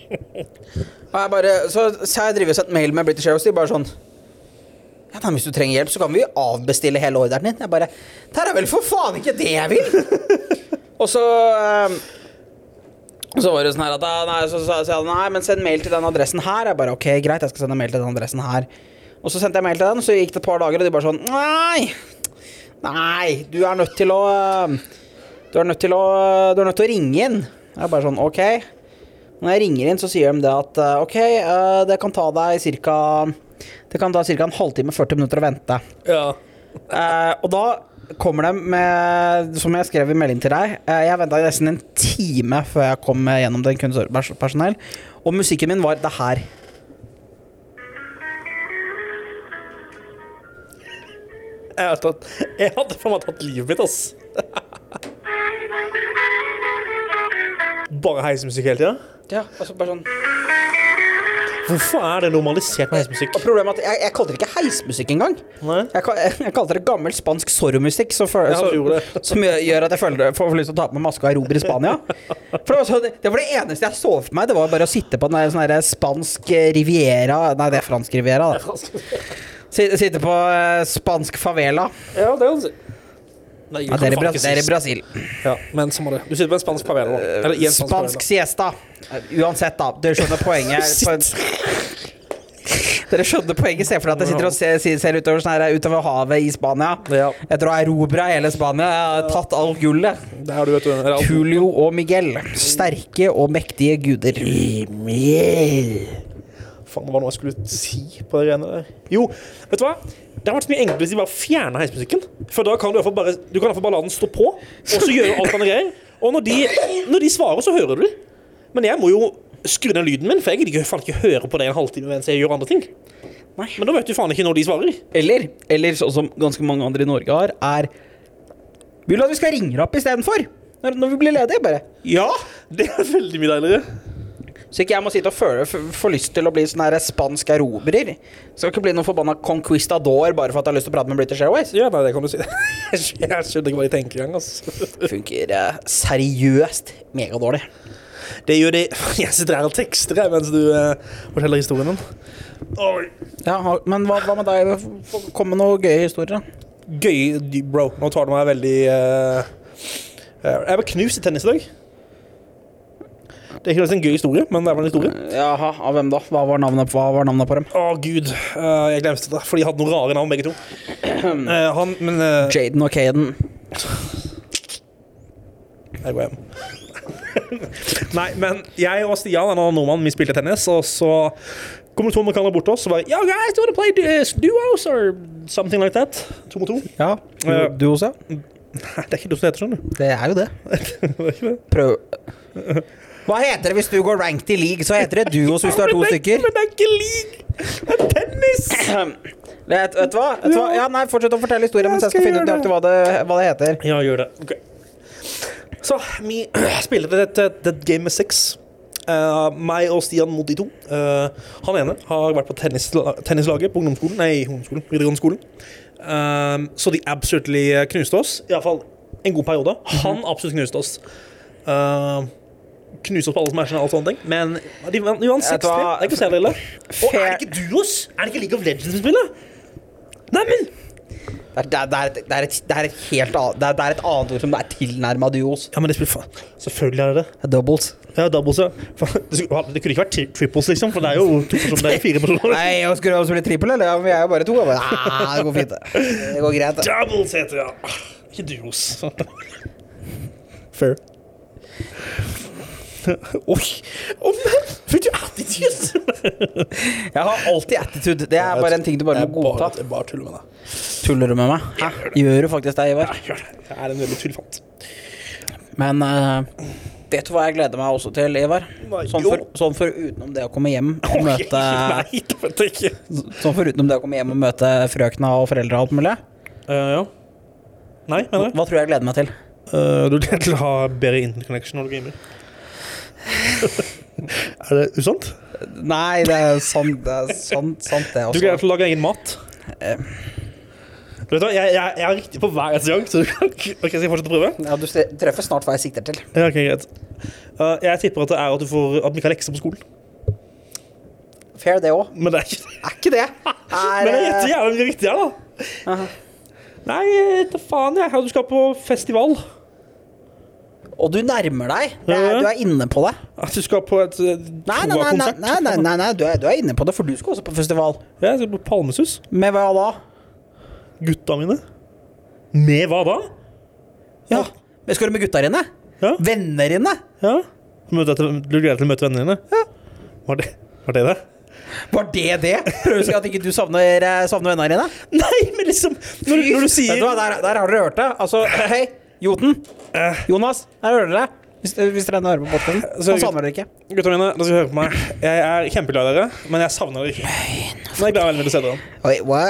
Speaker 1: Og jeg bare, så, så jeg driver og sendte mail med British Airways, de bare sånn ja, nei, Hvis du trenger hjelp, så kan vi jo avbestille hele ordren din. Jeg bare Det her er vel for faen ikke det jeg vil! og så eh, så var det sånn her at «Ah, Nei, så sa jeg nei, men send mail til den adressen her. Jeg bare ok, greit, jeg skal sende mail til den adressen her. Og så sendte jeg mail til den, så gikk det et par dager, og de bare sånn Nei! Nei, du er nødt til å eh, Du er nødt til å Du er nødt til å ringe inn. Jeg bare sånn ok. Når jeg ringer inn, så sier de det at eh, ok, eh, det kan ta deg ca. Det kan ta ca. en halvtime, 40 minutter å vente.
Speaker 2: ja.
Speaker 1: Eh, og da kommer de med, som jeg skrev i melding til deg eh, Jeg venta nesten en time før jeg kom eh, gjennom den kunstpersonell, og musikken min var det her.
Speaker 2: Jeg, har tatt, jeg hadde faen meg tatt livet mitt, ass. Bare heismusikk hele tida?
Speaker 1: Ja, altså bare sånn
Speaker 2: Hvorfor er det normalisert med heismusikk?
Speaker 1: Og problemet er at jeg, jeg kalte det ikke heismusikk engang.
Speaker 2: Nei.
Speaker 1: Jeg, ka- jeg kalte det gammel spansk sorromusikk, som, føl-
Speaker 2: Ja, du gjorde
Speaker 1: som, som gjør- gjør at jeg føler, får lyst til å ta på meg maska og erobre Spania. For det var, sånn- det var det eneste jeg så for meg. Det var bare å sitte på en sånn her spansk riviera Nei, det er fransk riviera. da Sitte, sitte på eh, spansk favela.
Speaker 2: Ja, det kan du si. Nei,
Speaker 1: Ja, det er i Bra- det er i Brasil.
Speaker 2: Ja, men sånn var det. Du sitter på en spansk favela nå. Eller i en spansk,
Speaker 1: Spansk siesta. Uansett, da. Du skjønner poenget.
Speaker 2: Shit.
Speaker 1: På en... Dere skjønner poenget? Se for deg at jeg sitter og ser, ser- ser utover, sånn her, utover havet i Spania.
Speaker 2: Ja.
Speaker 1: Etter å ha erobra hele Spania. Jeg har tatt all gullet.
Speaker 2: Det er du, vet du. Eller alt.
Speaker 1: Tulio og Miguel. Sterke og mektige guder.
Speaker 2: Faen, det var noe jeg skulle si på det greiene der. Jo, vet du hva? Det hadde vært så mye enklere hvis de bare fjerna heismusikken. For da kan du i hvert fall bare, du kan i hvert fall bare la den stå på, og så gjøre alt han greier. Og når de, når de svarer, så hører du det. Men jeg må jo skru ned lyden min, for jeg gidder ikke- faen ikke høre på det en halvtime mens jeg gjør andre ting.
Speaker 1: Nei.
Speaker 2: Men da vet du faen ikke når de svarer.
Speaker 1: Eller, eller sånn som ganske mange andre i Norge har, er Vil du at vi skal ringe deg opp istedenfor? Når, når vi blir ledige, bare.
Speaker 2: Ja, det er veldig mye deiligere.
Speaker 1: Så ikke jeg må sitte og føle, f få lyst til å bli sånn her spansk erobrer. Skal ikke bli noen forbanna conquistador bare for at jeg har lyst til å prate med British Airways.
Speaker 2: Ja, nei, det kan du si. Jeg skjønner ikke hva de tenker engang. Altså.
Speaker 1: Funker eh, seriøst megadårlig.
Speaker 2: Det gjør de Jeg sitter her og tekster jeg, mens du eh, forteller historien din. Oi.
Speaker 1: Ja, ha- men hva, hva med deg? F- Kom med noen gøye historier, da.
Speaker 2: Gøy, de- bro. Nå tar du meg veldig eh, eh, Jeg var knust i tennis i dag. Det er ikke nødvendigvis en gøy historie, men det er vel en historie.
Speaker 1: Jaha, av hvem da? Hva var navnet, hva var navnet på dem?
Speaker 2: Å, gud. eh, jeg glemte det, for de hadde noen rare navn, begge to. Eh, han, men eh,
Speaker 1: Jaden og Caden.
Speaker 2: Jeg går hjem. Nei, men jeg og Stian, en annen nordmann, vi spilte tennis, og så kommer det to amerikanere bort til oss og bare Yeah, guys, do you wanna play du- eh, duos or something like that? To mot to.
Speaker 1: Ja,
Speaker 2: du-
Speaker 1: du også?
Speaker 2: Nei, det er ikke du som heter sånn, du.
Speaker 1: Det er jo det.
Speaker 2: Det er ikke det.
Speaker 1: Prøv Hva heter det hvis du går ranked i league? Så heter det duos hvis du er to
Speaker 2: Men det
Speaker 1: stykker.
Speaker 2: Men det er ikke league! Det er tennis!
Speaker 1: Det- Vet, vet du hva? Vet du hva? Ja, nei, Fortsett å fortelle historien mens jeg skal
Speaker 2: skal
Speaker 1: finne ut
Speaker 2: gjøre
Speaker 1: nøyaktig hva, det- hva det heter.
Speaker 2: Ja, gjør det. Ok. Så vi spilte et, et, et game med seks. Eh, meg og Stian mot de to. Eh, han ene har vært på tennis, tennislaget på ungdomsskolen, nei, ungdomsskolen, videregående skolen. Eh, så de absolutely knuste oss. Iallfall en god periode. Han
Speaker 1: Mhm.
Speaker 2: absolutt knuste oss. Eh, knuste oss på alle matchene og alt sånne ting. Men de vant de vant
Speaker 1: Vet
Speaker 2: 60.
Speaker 1: du
Speaker 2: Det
Speaker 1: hva?
Speaker 2: er ikke så jævlig ille. Og er
Speaker 1: Fair-
Speaker 2: det ikke duos? Er det ikke League of Legends vi spiller? Neimen!
Speaker 1: Det er, det er, det er, et- det er, et, det er et helt annet Det er, det er et annet ord som er tilnærma duos.
Speaker 2: Ja, men det spiller faen. Selvfølgelig er det det.
Speaker 1: Doubles.
Speaker 2: Ja, doubles, ja. Faen, Det skulle- det kunne ikke vært tri triples, liksom, for det er jo to personer, det er fire personer.
Speaker 1: Nei, jeg skulle også bli trippel, eller? Ja, men Vi er jo bare to. Jeg bare, Nei, det går fint. Det Det går greit. det.
Speaker 2: Doubles heter det, ja. Ikke duos. Fair. Oi! Å, men! Fikk du attitude?
Speaker 1: Jeg har alltid attitude. Det er bare en ting du bare må godta.
Speaker 2: Jeg bare tuller med deg.
Speaker 1: Tuller du med meg? Hæ? Gjør du faktisk det, Ivar?
Speaker 2: Jeg gjør det. Jeg er en veldig tullfant.
Speaker 1: Men eh, vet du hva jeg gleder meg også til, Ivar?
Speaker 2: Nei,
Speaker 1: Sånn
Speaker 2: jo.
Speaker 1: for, sånn for utenom det å komme hjem og
Speaker 2: Oi,
Speaker 1: møte
Speaker 2: Nei, det vet jeg ikke.
Speaker 1: Sånn for utenom det å komme hjem og møte frøkna og foreldra og alt mulig.
Speaker 2: Eh, ja. Nei, mener jeg.
Speaker 1: Hva tror jeg jeg gleder meg til?
Speaker 2: Eh, du gleder til å ha bedre interconnection når du gamer. er det usant?
Speaker 1: Nei, det er sant, det, er sant, sant det
Speaker 2: Du gleder
Speaker 1: også.
Speaker 2: deg til å lage egen mat? Vet du hva, jeg, jeg, jeg er riktig på hver eneste gang, så du kan ikke- Ok, skal jeg fortsette å prøve?
Speaker 1: Ja, du tre- treffer snart hva jeg sikter til.
Speaker 2: Ja, ok, greit. Uh, jeg tipper at det er at du får At vi ikke har lekser på skolen.
Speaker 1: Fair, det òg.
Speaker 2: Men det er ikke
Speaker 1: Er ikke det?
Speaker 2: Men
Speaker 1: Er,
Speaker 2: jeg gjetter
Speaker 1: eh,
Speaker 2: jævla mye riktig her, da.
Speaker 1: aha.
Speaker 2: Nei, jeg vet da faen, jeg. Du skal på festival.
Speaker 1: og du nærmer deg. Det er,
Speaker 2: Ja.
Speaker 1: du er inne på det.
Speaker 2: At du skal på et eh,
Speaker 1: Nei, nei, nei, nei,
Speaker 2: Troa-konsert.
Speaker 1: nei, nei, nei, nei du, er, du er inne på det, for du skal også på festival.
Speaker 2: Ja, jeg skal på Palmesus.
Speaker 1: Med hva da?
Speaker 2: Gutta mine. Med hva da?
Speaker 1: Ja. Men Skal du med gutta dine?
Speaker 2: Ja.
Speaker 1: Venner dine?
Speaker 2: ja. Møte etter, du gleder deg til å møte vennene dine? Var det var det? det?
Speaker 1: Var det det? Prøver du å si at ikke du savner, eh, savner vennene dine?
Speaker 2: Nei, men liksom Når, du- når du
Speaker 1: Vet
Speaker 2: sier
Speaker 1: du hva, der, der har dere hørt det. Altså, hei, Joten. Jonas, der hører dere. Hvis, hvis dere ennå hører på podkasten.
Speaker 2: Eh. Så-
Speaker 1: Han savner dere ikke.
Speaker 2: Gutta mine, dere skal høre på meg. Jeg er kjempeglad i dere, men jeg savner dere ikke. Men jeg gleder meg veldig til å se dere.
Speaker 1: Oi, hva?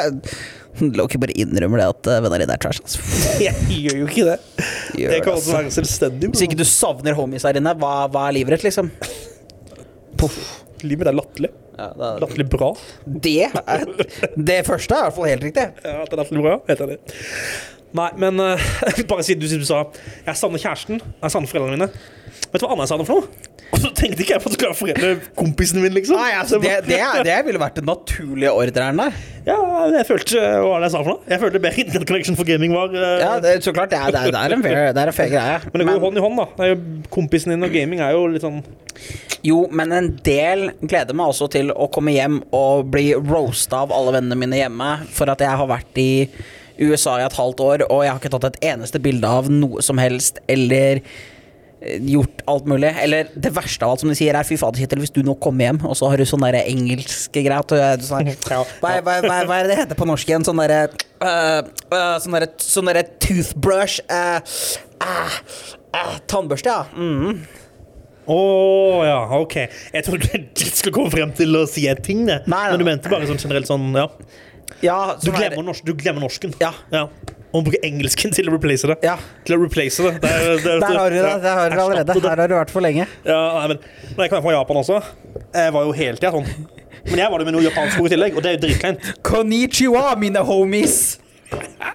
Speaker 1: hm, La ikke bare innrømme det at eh, vennene dine er trash. Altså.
Speaker 2: Jeg gjør jo ikke det. altså.
Speaker 1: Gjør
Speaker 2: jeg
Speaker 1: det,
Speaker 2: kan også være selvstendig.
Speaker 1: Hvis ikke du savner homies her inne, hva, hva er livet ditt, liksom? Poff.
Speaker 2: Livet mitt er latterlig.
Speaker 1: Ja, det,
Speaker 2: Latterlig bra.
Speaker 1: er, det første er i hvert fall helt riktig.
Speaker 2: Ah, Ja, at det er latterlig bra, heter det. Nei, men eh, bare siden du, du sa jeg savner kjæresten, jeg savner foreldrene mine. Vet du hva annet jeg savner for noe? Og så tenkte ikke jeg på at du skulle være foreldrekompisene mine, liksom.
Speaker 1: Nei, altså, det, det, det ville vært den naturlige ordreren der.
Speaker 2: Ja, jeg følte eh, Hva var det jeg sa for noe? Jeg følte bedre Internet Connection for Gaming var eh,
Speaker 1: Ja, det, så klart. Det er, det er, det er en fair, det er en fair greie.
Speaker 2: Men det går jo hånd i hånd, da. Det er jo kompisen din og gaming er jo litt sånn
Speaker 1: jo, men en del gleder meg også til å komme hjem og bli roasta av alle vennene mine hjemme for at jeg har vært i USA i et halvt år, og jeg har ikke tatt et eneste bilde av noe som helst, eller eh, gjort alt mulig. Eller det verste av alt, som de sier, er fy fader, Kjetil, hvis du nå kommer hjem, og så har du sånn derre engelske greier at du er sånn her,
Speaker 2: Ja.
Speaker 1: hva, er- hva, er- hva, er- hva er det det heter på norsk igjen? Sånn derre øh, øh, Sånn derre sånn derre toothbrush eh, ah, ah, Tannbørste, ja. Mm.
Speaker 2: Å ja, OK. Jeg trodde du skulle komme frem til å si en ting, det.
Speaker 1: Nei, nei.
Speaker 2: Men du mente bare sånn generelt sånn, ja.
Speaker 1: ja
Speaker 2: Du
Speaker 1: sånn er det.
Speaker 2: glemmer, norsk, du glemmer norsken.
Speaker 1: Ja.
Speaker 2: Og bruker engelsken til å replace det.
Speaker 1: Ja.
Speaker 2: Til å replace det. det, er- det er-
Speaker 1: Der har du det.
Speaker 2: ja,
Speaker 1: Der har du det allerede.
Speaker 2: erstatte det.
Speaker 1: Her har du vært for lenge.
Speaker 2: Ja, nei, men Når jeg kom hjem fra Japan også, jeg var jo hele tida sånn. Men jeg var det med noe japansk ord i tillegg, og det er jo dritkleint.
Speaker 1: Konnichiwa, mine homies!
Speaker 2: Nei,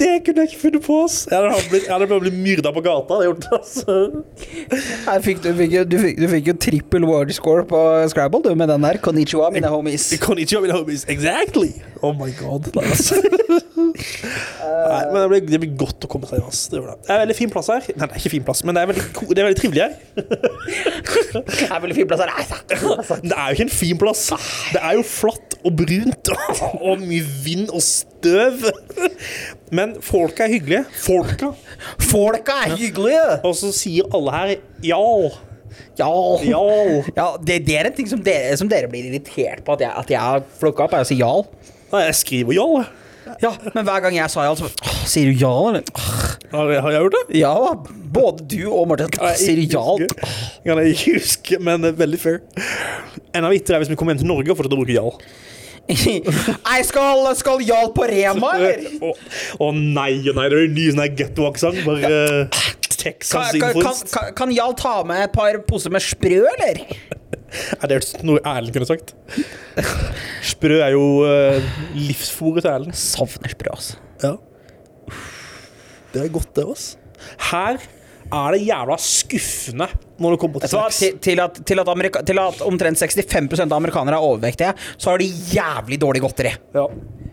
Speaker 2: Det kunne jeg ikke funnet på, ass. Jeg hadde blitt, jeg hadde bare blitt myrda på gata. Det hadde jeg gjort altså.
Speaker 1: Her fikk du, fikk, jo- du, fikk, du fikk jo trippel word score på Scrabble du, med den der. Konnichiwa, mine homies.
Speaker 2: Konnichiwa, mine homies. Exactly! Oh my god. Nei, ass. Nei, men det blir, det blir godt å komme seg hjem. ass. Det, gjør det. det er en veldig fin plass her. Nei, det er ikke fin plass, men det er veldig, ko- det er veldig trivelig her.
Speaker 1: Det er veldig fin plass her. sånn, Nei, takk.
Speaker 2: Det er jo ikke en fin plass. Det er jo flatt og brunt og mye vind og støv. Men folka er hyggelige. Folka.
Speaker 1: Folka er hyggelige!
Speaker 2: Og så sier alle her ja.
Speaker 1: Ja.
Speaker 2: Ja.
Speaker 1: Ja, det, det er en ting som dere, som dere blir irritert på at jeg, at jeg har plukka opp, er å si jal.
Speaker 2: Nei, jeg skriver ja.
Speaker 1: Ja, men hver gang jeg sa jal, så «Åh, Sier du jal, eller? «Åh,
Speaker 2: Har jeg, har jeg gjort det?
Speaker 1: Ja, både du og Martin «Åh, sier du jal.
Speaker 2: Jeg kan ikke huske, men det er veldig fair. Enda vittigere er hvis vi kommer hjem til Norge og fortsetter å bruke jal.
Speaker 1: Nei, skal, skal jal på Rema, eller?
Speaker 2: Eh, Å å nei å nei, det er jo en ny sånn her getto-aksent. Bare uh,
Speaker 1: Kan, kan, kan,
Speaker 2: Texas-influence.
Speaker 1: kan, kan Jarl ta med et par poser med sprø, eller?
Speaker 2: Er det noe Erlend kunne sagt? Sprø er jo uh, livsfòret til Erlend.
Speaker 1: Savner sprø, altså.
Speaker 2: Ja. Det er godt, det, ass. Her er det jævla skuffende når det kommer til sex.
Speaker 1: Til, til, at, til, at amerika, til at omtrent 65 av amerikanere er overvektige, så har de jævlig dårlig godteri.
Speaker 2: Ja.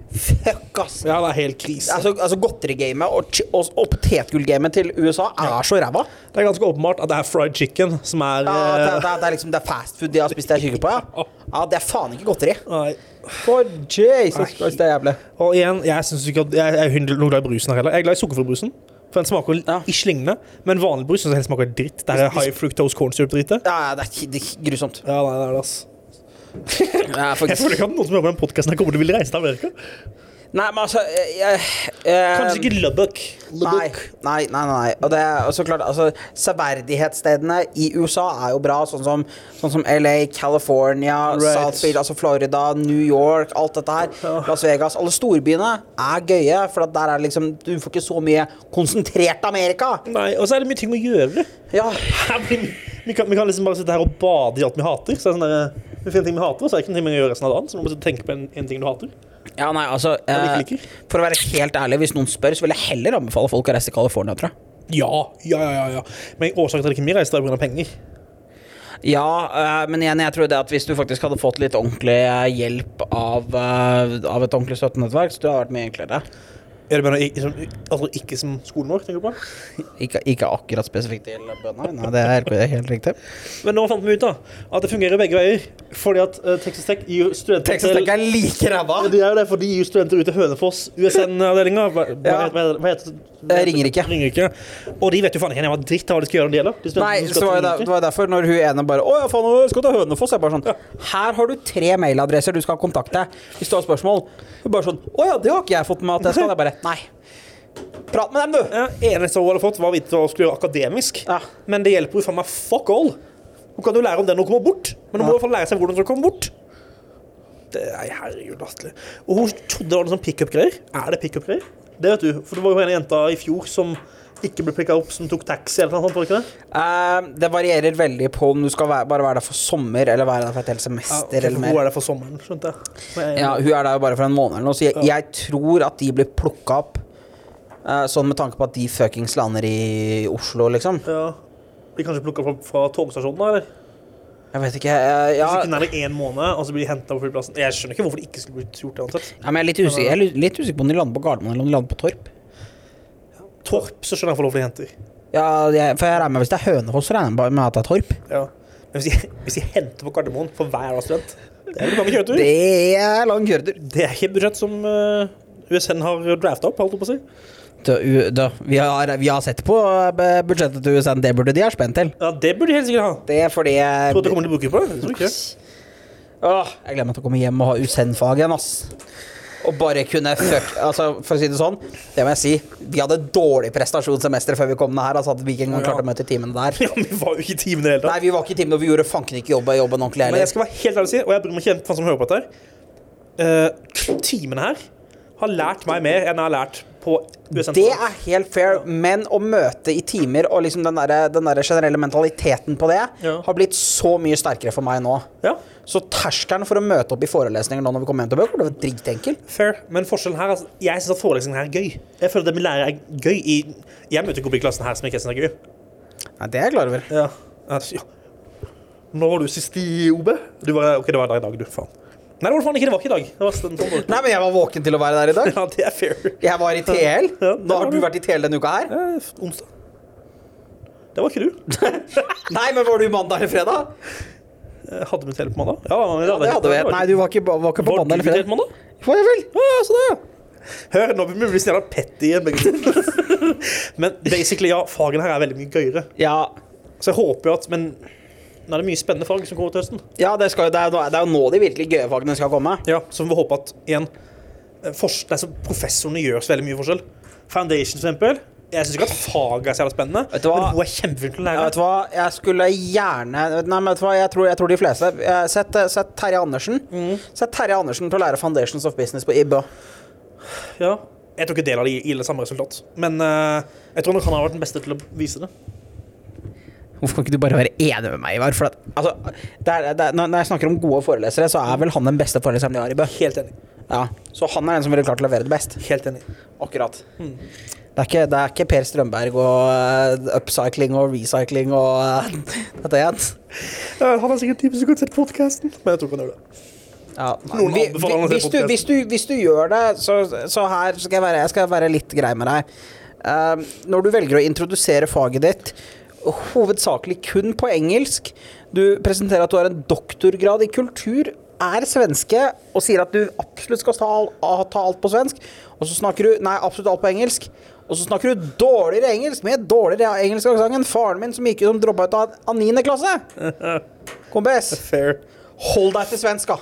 Speaker 1: Fuck, ass.
Speaker 2: ja, det er helt krise.
Speaker 1: Altså, altså Godterigamet og, chi- og, og potetgullgamet til USA er så ræva.
Speaker 2: Det er ganske åpenbart at det er fried chicken som er
Speaker 1: Ja, det,
Speaker 2: eh,
Speaker 1: er- det, er- det er liksom det er fastfood de har spist deg kikket på, ja. ja. Det er faen ikke godteri.
Speaker 2: Nei.
Speaker 1: For Jesus Christ, det er jævlig.
Speaker 2: Og igjen, jeg synes ikke at Jeg er jo ikke noe glad i brusen her heller. Jeg er glad i sukkerfri-brusen. For den smaker
Speaker 1: Ja.
Speaker 2: ikke lignende. Men vanlig brus synes jeg den smaker dritt. Det er high fructose corn syrup-dritet.
Speaker 1: Ja, ja, det er, ki- det er grusomt.
Speaker 2: Ja, nei, det er det, ass.
Speaker 1: Ja,
Speaker 2: Jeg
Speaker 1: faktisk.
Speaker 2: føler ikke at noen som jobber med den podcasten her kommer til å ville reise til Amerika.
Speaker 1: Nei, men altså jeg, jeg, eh,
Speaker 2: Kanskje ikke Lubbock.
Speaker 1: Um, Nei,
Speaker 2: Lubbock.
Speaker 1: nei, nei. nei, nei. Og det er og så klart, altså, Severdighetsstedene i USA er jo bra, sånn som, sånn som LA, California,
Speaker 2: Right.
Speaker 1: South Beach, altså Florida, New York, alt dette her. Las Vegas. Alle storbyene er gøye, for at der er det liksom Du får ikke så mye konsentrert Amerika.
Speaker 2: Nei, Og så er det mye ting å gjøre.
Speaker 1: Ja.
Speaker 2: Her blir, vi, kan, vi kan liksom bare sitte her og bade i alt vi hater. Så er det sånn der, vi finner ting vi hater, og så er det ikke noe vi gjør resten av dagen. Så man må bare tenke på en, en ting du hater.
Speaker 1: ja, nei, altså
Speaker 2: Jeg liker
Speaker 1: eh, For å være helt ærlig, hvis noen spør, så vil jeg heller anbefale folk å reise til California, tror jeg.
Speaker 2: Ja, ja, ja. ja, ja. Men årsaken til at ikke vi reiser, er pga. penger.
Speaker 1: Ja, eh, men igjen, jeg tror det at hvis du faktisk hadde fått litt ordentlig eh, hjelp av, eh, av et ordentlig støttenettverk, så det hadde vært mye enklere.
Speaker 2: Er det bare noe, som, altså ikke som skolen vår, tenker du på?
Speaker 1: Ikke, ikke akkurat spesifikt til bønder. Nei, det er helt, det er helt riktig.
Speaker 2: Men nå fant vi ut da, at det fungerer begge veier. Fordi at eh, Texas Tech gir jo studenter til-
Speaker 1: er like ræva.
Speaker 2: Ja, Det er jo det, for de gir studenter ut til Hønefoss, USN-avdelinga. Hva, hva,
Speaker 1: Ja.
Speaker 2: hva, hva heter det?
Speaker 1: Eh, Ringerike.
Speaker 2: Ringerike. Og de vet jo faen ikke hva dritt av hva de skal gjøre når det gjelder. De studentene
Speaker 1: Nei,
Speaker 2: som
Speaker 1: så
Speaker 2: skal
Speaker 1: var
Speaker 2: til
Speaker 1: det,
Speaker 2: Ringerike.
Speaker 1: det var derfor når hun ene bare 'Å ja, faen, jeg skal til Hønefoss.' Jeg bare sånn 'Her har du tre mailadresser du skal kontakte hvis du har spørsmål.' Hun bare sånn 'Å ja, det har ikke jeg fått med meg at jeg skal.' Jeg bare 'Nei, prat med dem, du'.
Speaker 2: Ja, eneste hun hadde fått, var å vite hva hun skulle gjøre akademisk.
Speaker 1: Ja.
Speaker 2: Men det hjelper jo faen meg fuck all. Hun kan jo lære om det når hun kommer bort, men hun må i hvert fall lære seg hvordan hun skal komme bort. Det er herregud latterlig. Og hun trodde det var noe sånn pickup-greier. Er det pickup-greier? Det vet du. For det var jo en jenta i fjor som ikke ble picka opp, som tok taxi eller noe sånt. var det ikke det?
Speaker 1: Eh, det varierer veldig på om du skal være, bare være der for sommer eller være der for et helt semester eller
Speaker 2: for
Speaker 1: mer.
Speaker 2: Hun er der for sommeren, skjønte jeg. Men jeg-
Speaker 1: Ja, hun er der jo bare for en måned eller noe, så jeg, jeg tror at de blir plukka opp Eh, sånn med tanke på at de fuckings lander i Oslo, liksom.
Speaker 2: Ja. De kanskje plukka fra, fra togstasjonen, da? eller?
Speaker 1: Jeg vet ikke. eh, ja,
Speaker 2: Hvis ikke nærmere én måned, og så blir de henta på flyplassen. Jeg skjønner ikke hvorfor det ikke skulle blitt gjort. det uansett.
Speaker 1: ja, men jeg er litt usikker, jeg er litt- litt usikker på om de lander på Gardermoen eller om de lander på Torp.
Speaker 2: Torp så skjønner jeg hvorfor de henter.
Speaker 1: Ja, jeg, for jeg regner med Hvis det er Hønefoss, så regner jeg bare med at det er Torp.
Speaker 2: Ja. Men hvis de, hvis de henter på Gardermoen for hver av student, det er vel mange kjøretur? Det,
Speaker 1: Det er lang kjøretur.
Speaker 2: er ikke et budsjett som eh, USN har drafta opp, holdt jeg på å si.
Speaker 1: Da, u- da, vi, har, vi har sett på eh, budsjettet til USA, det burde de ha spent til.
Speaker 2: Ja, det burde de helt sikkert ha.
Speaker 1: Det er fordi jeg,
Speaker 2: Tror du det kommer til å bruke på det? Jeg Tror ikke.
Speaker 1: Åh, jeg gleder meg til å komme hjem og ha USN-fag igjen, ass. Og bare kunne fuck Altså, for å si det sånn, det må jeg si. Vi hadde dårlig prestasjonssemester før vi kom ned her. Altså at vi ikke engang
Speaker 2: Ja.
Speaker 1: klarte å møte timene der.
Speaker 2: Ja, men vi var jo ikke i timen i det hele tatt.
Speaker 1: Nei, vi var ikke i timen, og vi gjorde fanken ikke jobben, jobben ordentlig
Speaker 2: Men jeg
Speaker 1: heller.
Speaker 2: skal være helt ærlig og si, og jeg bryr meg ikke om hvem som hører på dette her eh, Timene her har lært meg mer enn jeg har lært på USN.
Speaker 1: Det er helt fair, men å møte i timer og liksom den derre den derre generelle mentaliteten på det
Speaker 2: Ja.
Speaker 1: har blitt så mye sterkere for meg nå.
Speaker 2: Ja,
Speaker 1: Så terskelen for å møte opp i forelesninger nå når vi kommer hjem til bøker, det var dritenkel.
Speaker 2: fair. Men forskjellen her, altså, jeg syns at forelesningen her er gøy. Jeg føler at det vi lærer er gøy i Jeg møter ikke opp i klassen her som ikke jeg syns er gøy.
Speaker 1: Nei, det er jeg klar over.
Speaker 2: Ja. Altså, ja. Når var du sist i OB? Du var, ok, det var der i dag, du. Faen. Nei, det var faen ikke det var ikke i dag. Det var den tommer.
Speaker 1: Nei, men jeg var våken til å være der i dag.
Speaker 2: Ja, det er fair.
Speaker 1: Jeg var i TL.
Speaker 2: Ja, det
Speaker 1: Nå
Speaker 2: var
Speaker 1: har du
Speaker 2: du.
Speaker 1: vært i TL denne uka her.
Speaker 2: Eh, onsdag. Det var ikke du.
Speaker 1: Nei, men var du mandag eller fredag?
Speaker 2: Jeg hadde mitt hele på mandag. Ja, men
Speaker 1: Ja, det hadde vi. Nei, du var ikke, var ikke på
Speaker 2: Var du
Speaker 1: mandag eller fredag.
Speaker 2: invitert mandag?
Speaker 1: Var jeg vel?
Speaker 2: Ja, så det. Hør, nå blir vi snart petty igjen, begge to. Men basically, ja, fagene her er veldig mye gøyere.
Speaker 1: Ja.
Speaker 2: Så jeg håper jo at Men nå er det mye spennende fag som kommer til høsten.
Speaker 1: Ja, det, skal, jo- det, er, jo nå- det er jo nå de virkelig gøye fagene skal komme.
Speaker 2: Ja, Så vi får håpe at igjen eh, fors- nei, så Professorene gjør så veldig mye forskjell. Foundation, for eksempel. Jeg syns ikke at faget er så jævla spennende,
Speaker 1: Vet du hva?
Speaker 2: men hun er kjempeflink til å
Speaker 1: Ja,
Speaker 2: lære.
Speaker 1: vet du hva, jeg skulle gjerne Nei, men vet du hva, jeg tror, jeg tror de fleste Eh, Sett, sett Terje Andersen. Sett Terje Andersen til å lære Foundations of Business på IBØ.
Speaker 2: Ja. Jeg tror ikke deler av det gir det samme resultat, men eh, jeg tror nok han har vært den beste til å vise det.
Speaker 1: Hvorfor kan ikke du bare være enig med meg, Ivar? For at, altså, det er, det er, når når jeg snakker om gode forelesere, så er vel han den beste foreleseren de har i Bø.
Speaker 2: Helt enig.
Speaker 1: Ja, så han er den som ville klart å levere det best.
Speaker 2: Helt enig.
Speaker 1: Akkurat. Det, er ikke, det er ikke Per Strømberg og eh, upcycling og recycling og eh, dette igjen.
Speaker 2: Ja, han er sikkert typen som kunne sett podkasten, men jeg tror ikke han gjør det.
Speaker 1: Ja, nei,
Speaker 2: Noen
Speaker 1: vi, vi,
Speaker 2: anbefaler å se
Speaker 1: hvis, du,
Speaker 2: podcasten.
Speaker 1: hvis, du, hvis du gjør det, så, så her skal jeg, være, jeg skal være litt grei med deg. Eh, når du velger å introdusere faget ditt hovedsakelig kun på engelsk, du presenterer at du har en doktorgrad i kultur, er svenske og sier at du absolutt skal ta, all- a- ta alt på svensk, og så snakker du Nei, absolutt alt på engelsk. Og så snakker du dårligere engelsk med dårligere engelsk aksent enn faren min som gikk ut som droppa ut av av niende klasse! Kompis.
Speaker 2: Fair.
Speaker 1: Hold deg til svensk, da.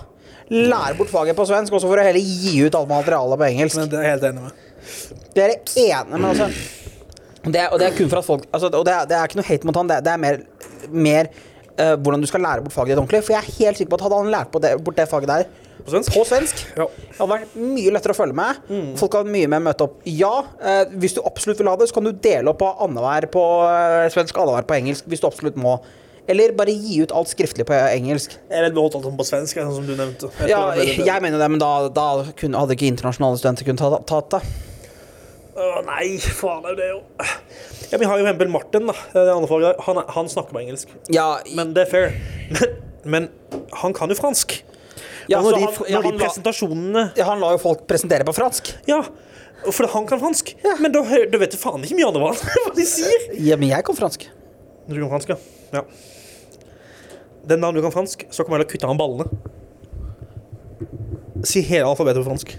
Speaker 1: Lær bort faget på svensk, og så får du heller gi ut alt materialet på engelsk.
Speaker 2: Men det er jeg helt enig med.
Speaker 1: Det er det ene, men altså det er, Og det er kun for at folk altså, Og det er, det er ikke noe hate mot han, det er, det er mer, mer eh, hvordan du skal lære bort faget ditt ordentlig. For jeg er helt sikker på at hadde han lært bort det, bort det faget der
Speaker 2: På svensk?
Speaker 1: på svensk,
Speaker 2: Ja.
Speaker 1: det hadde vært mye lettere å følge med. Folk hadde mye mer møtt opp. Ja, eh, hvis du absolutt vil ha det, så kan du dele opp av annenhver på eh, svensk, annenhver på engelsk, hvis du absolutt må. Eller bare gi ut alt skriftlig på engelsk.
Speaker 2: Jeg ville beholdt alt om på svensk, sånn som du nevnte. Jeg tror
Speaker 1: Ja,
Speaker 2: det er veldig
Speaker 1: jeg mener det, men da, da kunne, hadde ikke internasjonale studenter kunnet ta- tatt det.
Speaker 2: bedre. Å nei, faen er det jo Ja, Vi har jo Hempel Martin, da. Det andre faget. der. Han, er- han snakker bare engelsk.
Speaker 1: Ja,
Speaker 2: Men det er fair. Men, men han kan jo fransk.
Speaker 1: ja,
Speaker 2: og når
Speaker 1: så
Speaker 2: de,
Speaker 1: han, ja,
Speaker 2: når
Speaker 1: han
Speaker 2: de
Speaker 1: la,
Speaker 2: presentasjonene
Speaker 1: ja, han la jo folk presentere på fransk.
Speaker 2: Ja, for han kan fransk. Men da, hø- da vet du faen ikke mye annet hva han- hva de sier.
Speaker 1: Ja, men jeg kan fransk.
Speaker 2: Du kan fransk, ja. ja. Den dagen du kan fransk, så kommer jeg til å kutte av ballene. Si hele alfabetet på fransk.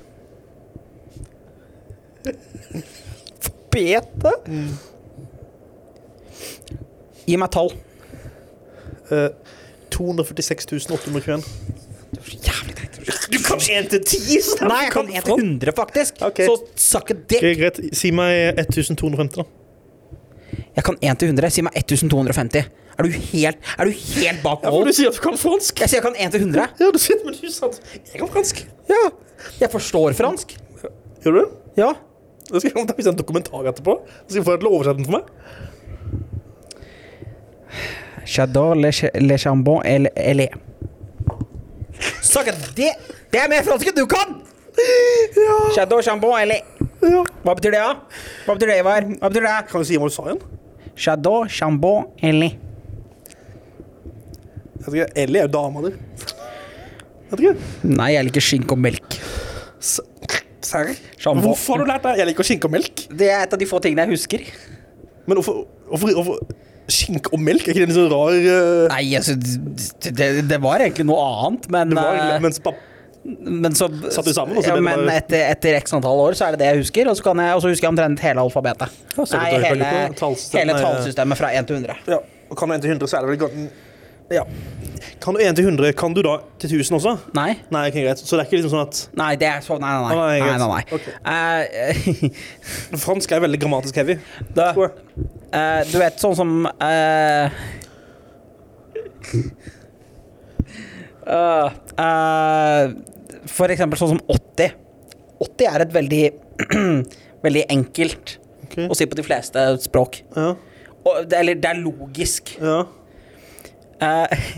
Speaker 1: Bete? Gi meg tall.
Speaker 2: Eh, 246 821.
Speaker 1: Jævlig greit.
Speaker 2: Du kan ikke 1 til 10! Så
Speaker 1: Nei, jeg kan 1 til 100, faktisk.
Speaker 2: Ok.
Speaker 1: Så suck a dick.
Speaker 2: greit. Si meg 1250, da.
Speaker 1: Jeg kan 1 til 100. Si meg 1250. Er du helt, er du helt bak mål?
Speaker 2: sier at du kan fransk.
Speaker 1: Jeg sier jeg kan 1 til 100.
Speaker 2: Ja, du sier men du sa at jeg kan fransk.
Speaker 1: Ja. Jeg forstår fransk.
Speaker 2: Gjør du det?
Speaker 1: Ja.
Speaker 2: Da skal jeg komme til å vise en dokumentar etterpå. Så skal jeg få deg til å oversette den for meg.
Speaker 1: J'adore le, ch- le chambon elle, elle est. Saken, det, det er mer fransk enn du kan! J'adore chambon elle est.
Speaker 2: Ja.
Speaker 1: Hva betyr det, da? Hva betyr det, Ivar? Hva betyr det?
Speaker 2: Kan du si hva du sa igjen?
Speaker 1: Chadot, Chambon, Ellie.
Speaker 2: Jeg vet ikke, Ellie er jo dama di. Jeg vet ikke.
Speaker 1: Nei, jeg liker skinke og melk.
Speaker 2: S- Serr?
Speaker 1: Sjambo.
Speaker 2: Hvorfor har du lært det? Jeg liker skinke og melk.
Speaker 1: Det er et av de få tingene jeg husker.
Speaker 2: Men hvorfor, hvorfor, hvorfor Skinke og melk? Er ikke det en sånn rar eh,
Speaker 1: Nei, altså Det, det- det var egentlig noe annet, men
Speaker 2: det var,
Speaker 1: eh,
Speaker 2: mens papp,
Speaker 1: Men så
Speaker 2: Satt du sammen, og så
Speaker 1: ja,
Speaker 2: ble det
Speaker 1: Men
Speaker 2: bare-
Speaker 1: etter, etter x antall år så er det det jeg husker, og så, kan jeg, og så husker jeg omtrent hele alfabetet.
Speaker 2: Ja,
Speaker 1: Nei,
Speaker 2: så du tar
Speaker 1: hele,
Speaker 2: ikke på tallsystemet,
Speaker 1: hele
Speaker 2: nei, ja.
Speaker 1: tallsystemet fra 1 til 100.
Speaker 2: ja, og Kan du 1 til 100, så er det vel gan- Ja. Kan du 1 til 100, kan du da til 1000 også?
Speaker 1: Nei?
Speaker 2: Nei, ok, greit. Så det er ikke liksom sånn at
Speaker 1: Nei, det er så Nei, nei, nei.
Speaker 2: Nei,
Speaker 1: nei,
Speaker 2: greit.
Speaker 1: nei, nei.
Speaker 2: Ok.
Speaker 1: Eh,
Speaker 2: Fransk er veldig grammatisk heavy.
Speaker 1: Da-
Speaker 2: tror jeg.
Speaker 1: eh, du vet sånn som eh, eh, eh, For eksempel sånn som 80. 80 er et veldig, veldig enkelt
Speaker 2: Ok.
Speaker 1: å si på de fleste språk.
Speaker 2: Ja,
Speaker 1: Og, det, eller det er logisk.
Speaker 2: ja.
Speaker 1: Eh,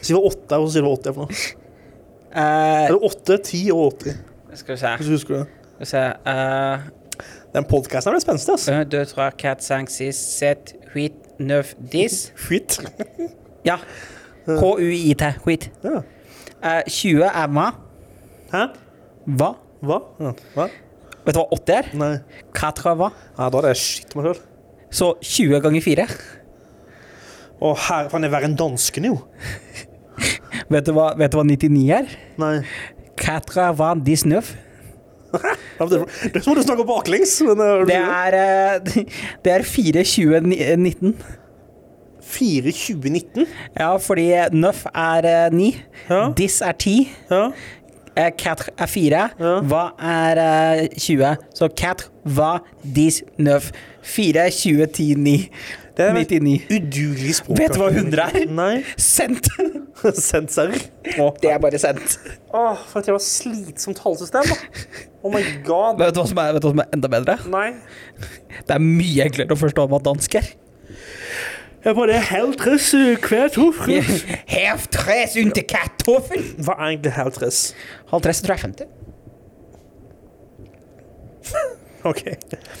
Speaker 2: Si hva 8 er, og så sier du hva 80 er for noe.
Speaker 1: eh,
Speaker 2: Er det 8, 10 og 80?
Speaker 1: skal vi se
Speaker 2: Hvis du husker det.
Speaker 1: Skal vi se eh,
Speaker 2: Den podkasten ble spenstig, altså. ass.
Speaker 1: 1, 2, 3, 4, 5, 6, 7, 8, 9, 10
Speaker 2: Skit.
Speaker 1: Ja. H-u-i-t. Huit.
Speaker 2: Ja.
Speaker 1: Eh, 20 er hva?
Speaker 2: Hæ?
Speaker 1: Hva?
Speaker 2: Hva? Ja. Hva?
Speaker 1: Vet du hva 80 er?
Speaker 2: Nei.
Speaker 1: 4 hva?
Speaker 2: Ja, da hadde jeg skitt meg sjøl.
Speaker 1: Så 20 ganger 4.
Speaker 2: Å, herre, for han er verre enn danskene, jo.
Speaker 1: Vet du hva, vet du hva 99 er?
Speaker 2: Nei.
Speaker 1: 4 hva 19?
Speaker 2: Ja, men Det det er som om du snakker baklengs. Men er
Speaker 1: Det er, eh, det er 4, 20, ni- eh, 19.
Speaker 2: 4 2019.
Speaker 1: Ja, fordi 9 er 9.
Speaker 2: Ja.
Speaker 1: Dis er 10.
Speaker 2: Ja.
Speaker 1: Eh, Quatre er fire. Hva er eh, 20? Så quatre, hva, dis, nøf. Fire, 20, 10, 9.
Speaker 2: Det er vel-
Speaker 1: 99.
Speaker 2: Udugelig språk.
Speaker 1: Vet du hva 100 er?
Speaker 2: Nei.
Speaker 1: Sendt!
Speaker 2: Sendt serr.
Speaker 1: Det er bare sendt.
Speaker 2: Åh, for at jeg var slitsomt tallsystem, da. Oh my god.
Speaker 1: Vet du, hva som er, vet du hva som er enda bedre?
Speaker 2: Nei.
Speaker 1: Det er mye enklere å forstå hva dansk er.
Speaker 2: Jeg bare helt ress hver to frukt.
Speaker 1: Hev tres under kartoffel!
Speaker 2: Hva er egentlig helt ress?
Speaker 1: Halv tres tror jeg er 50.
Speaker 2: OK.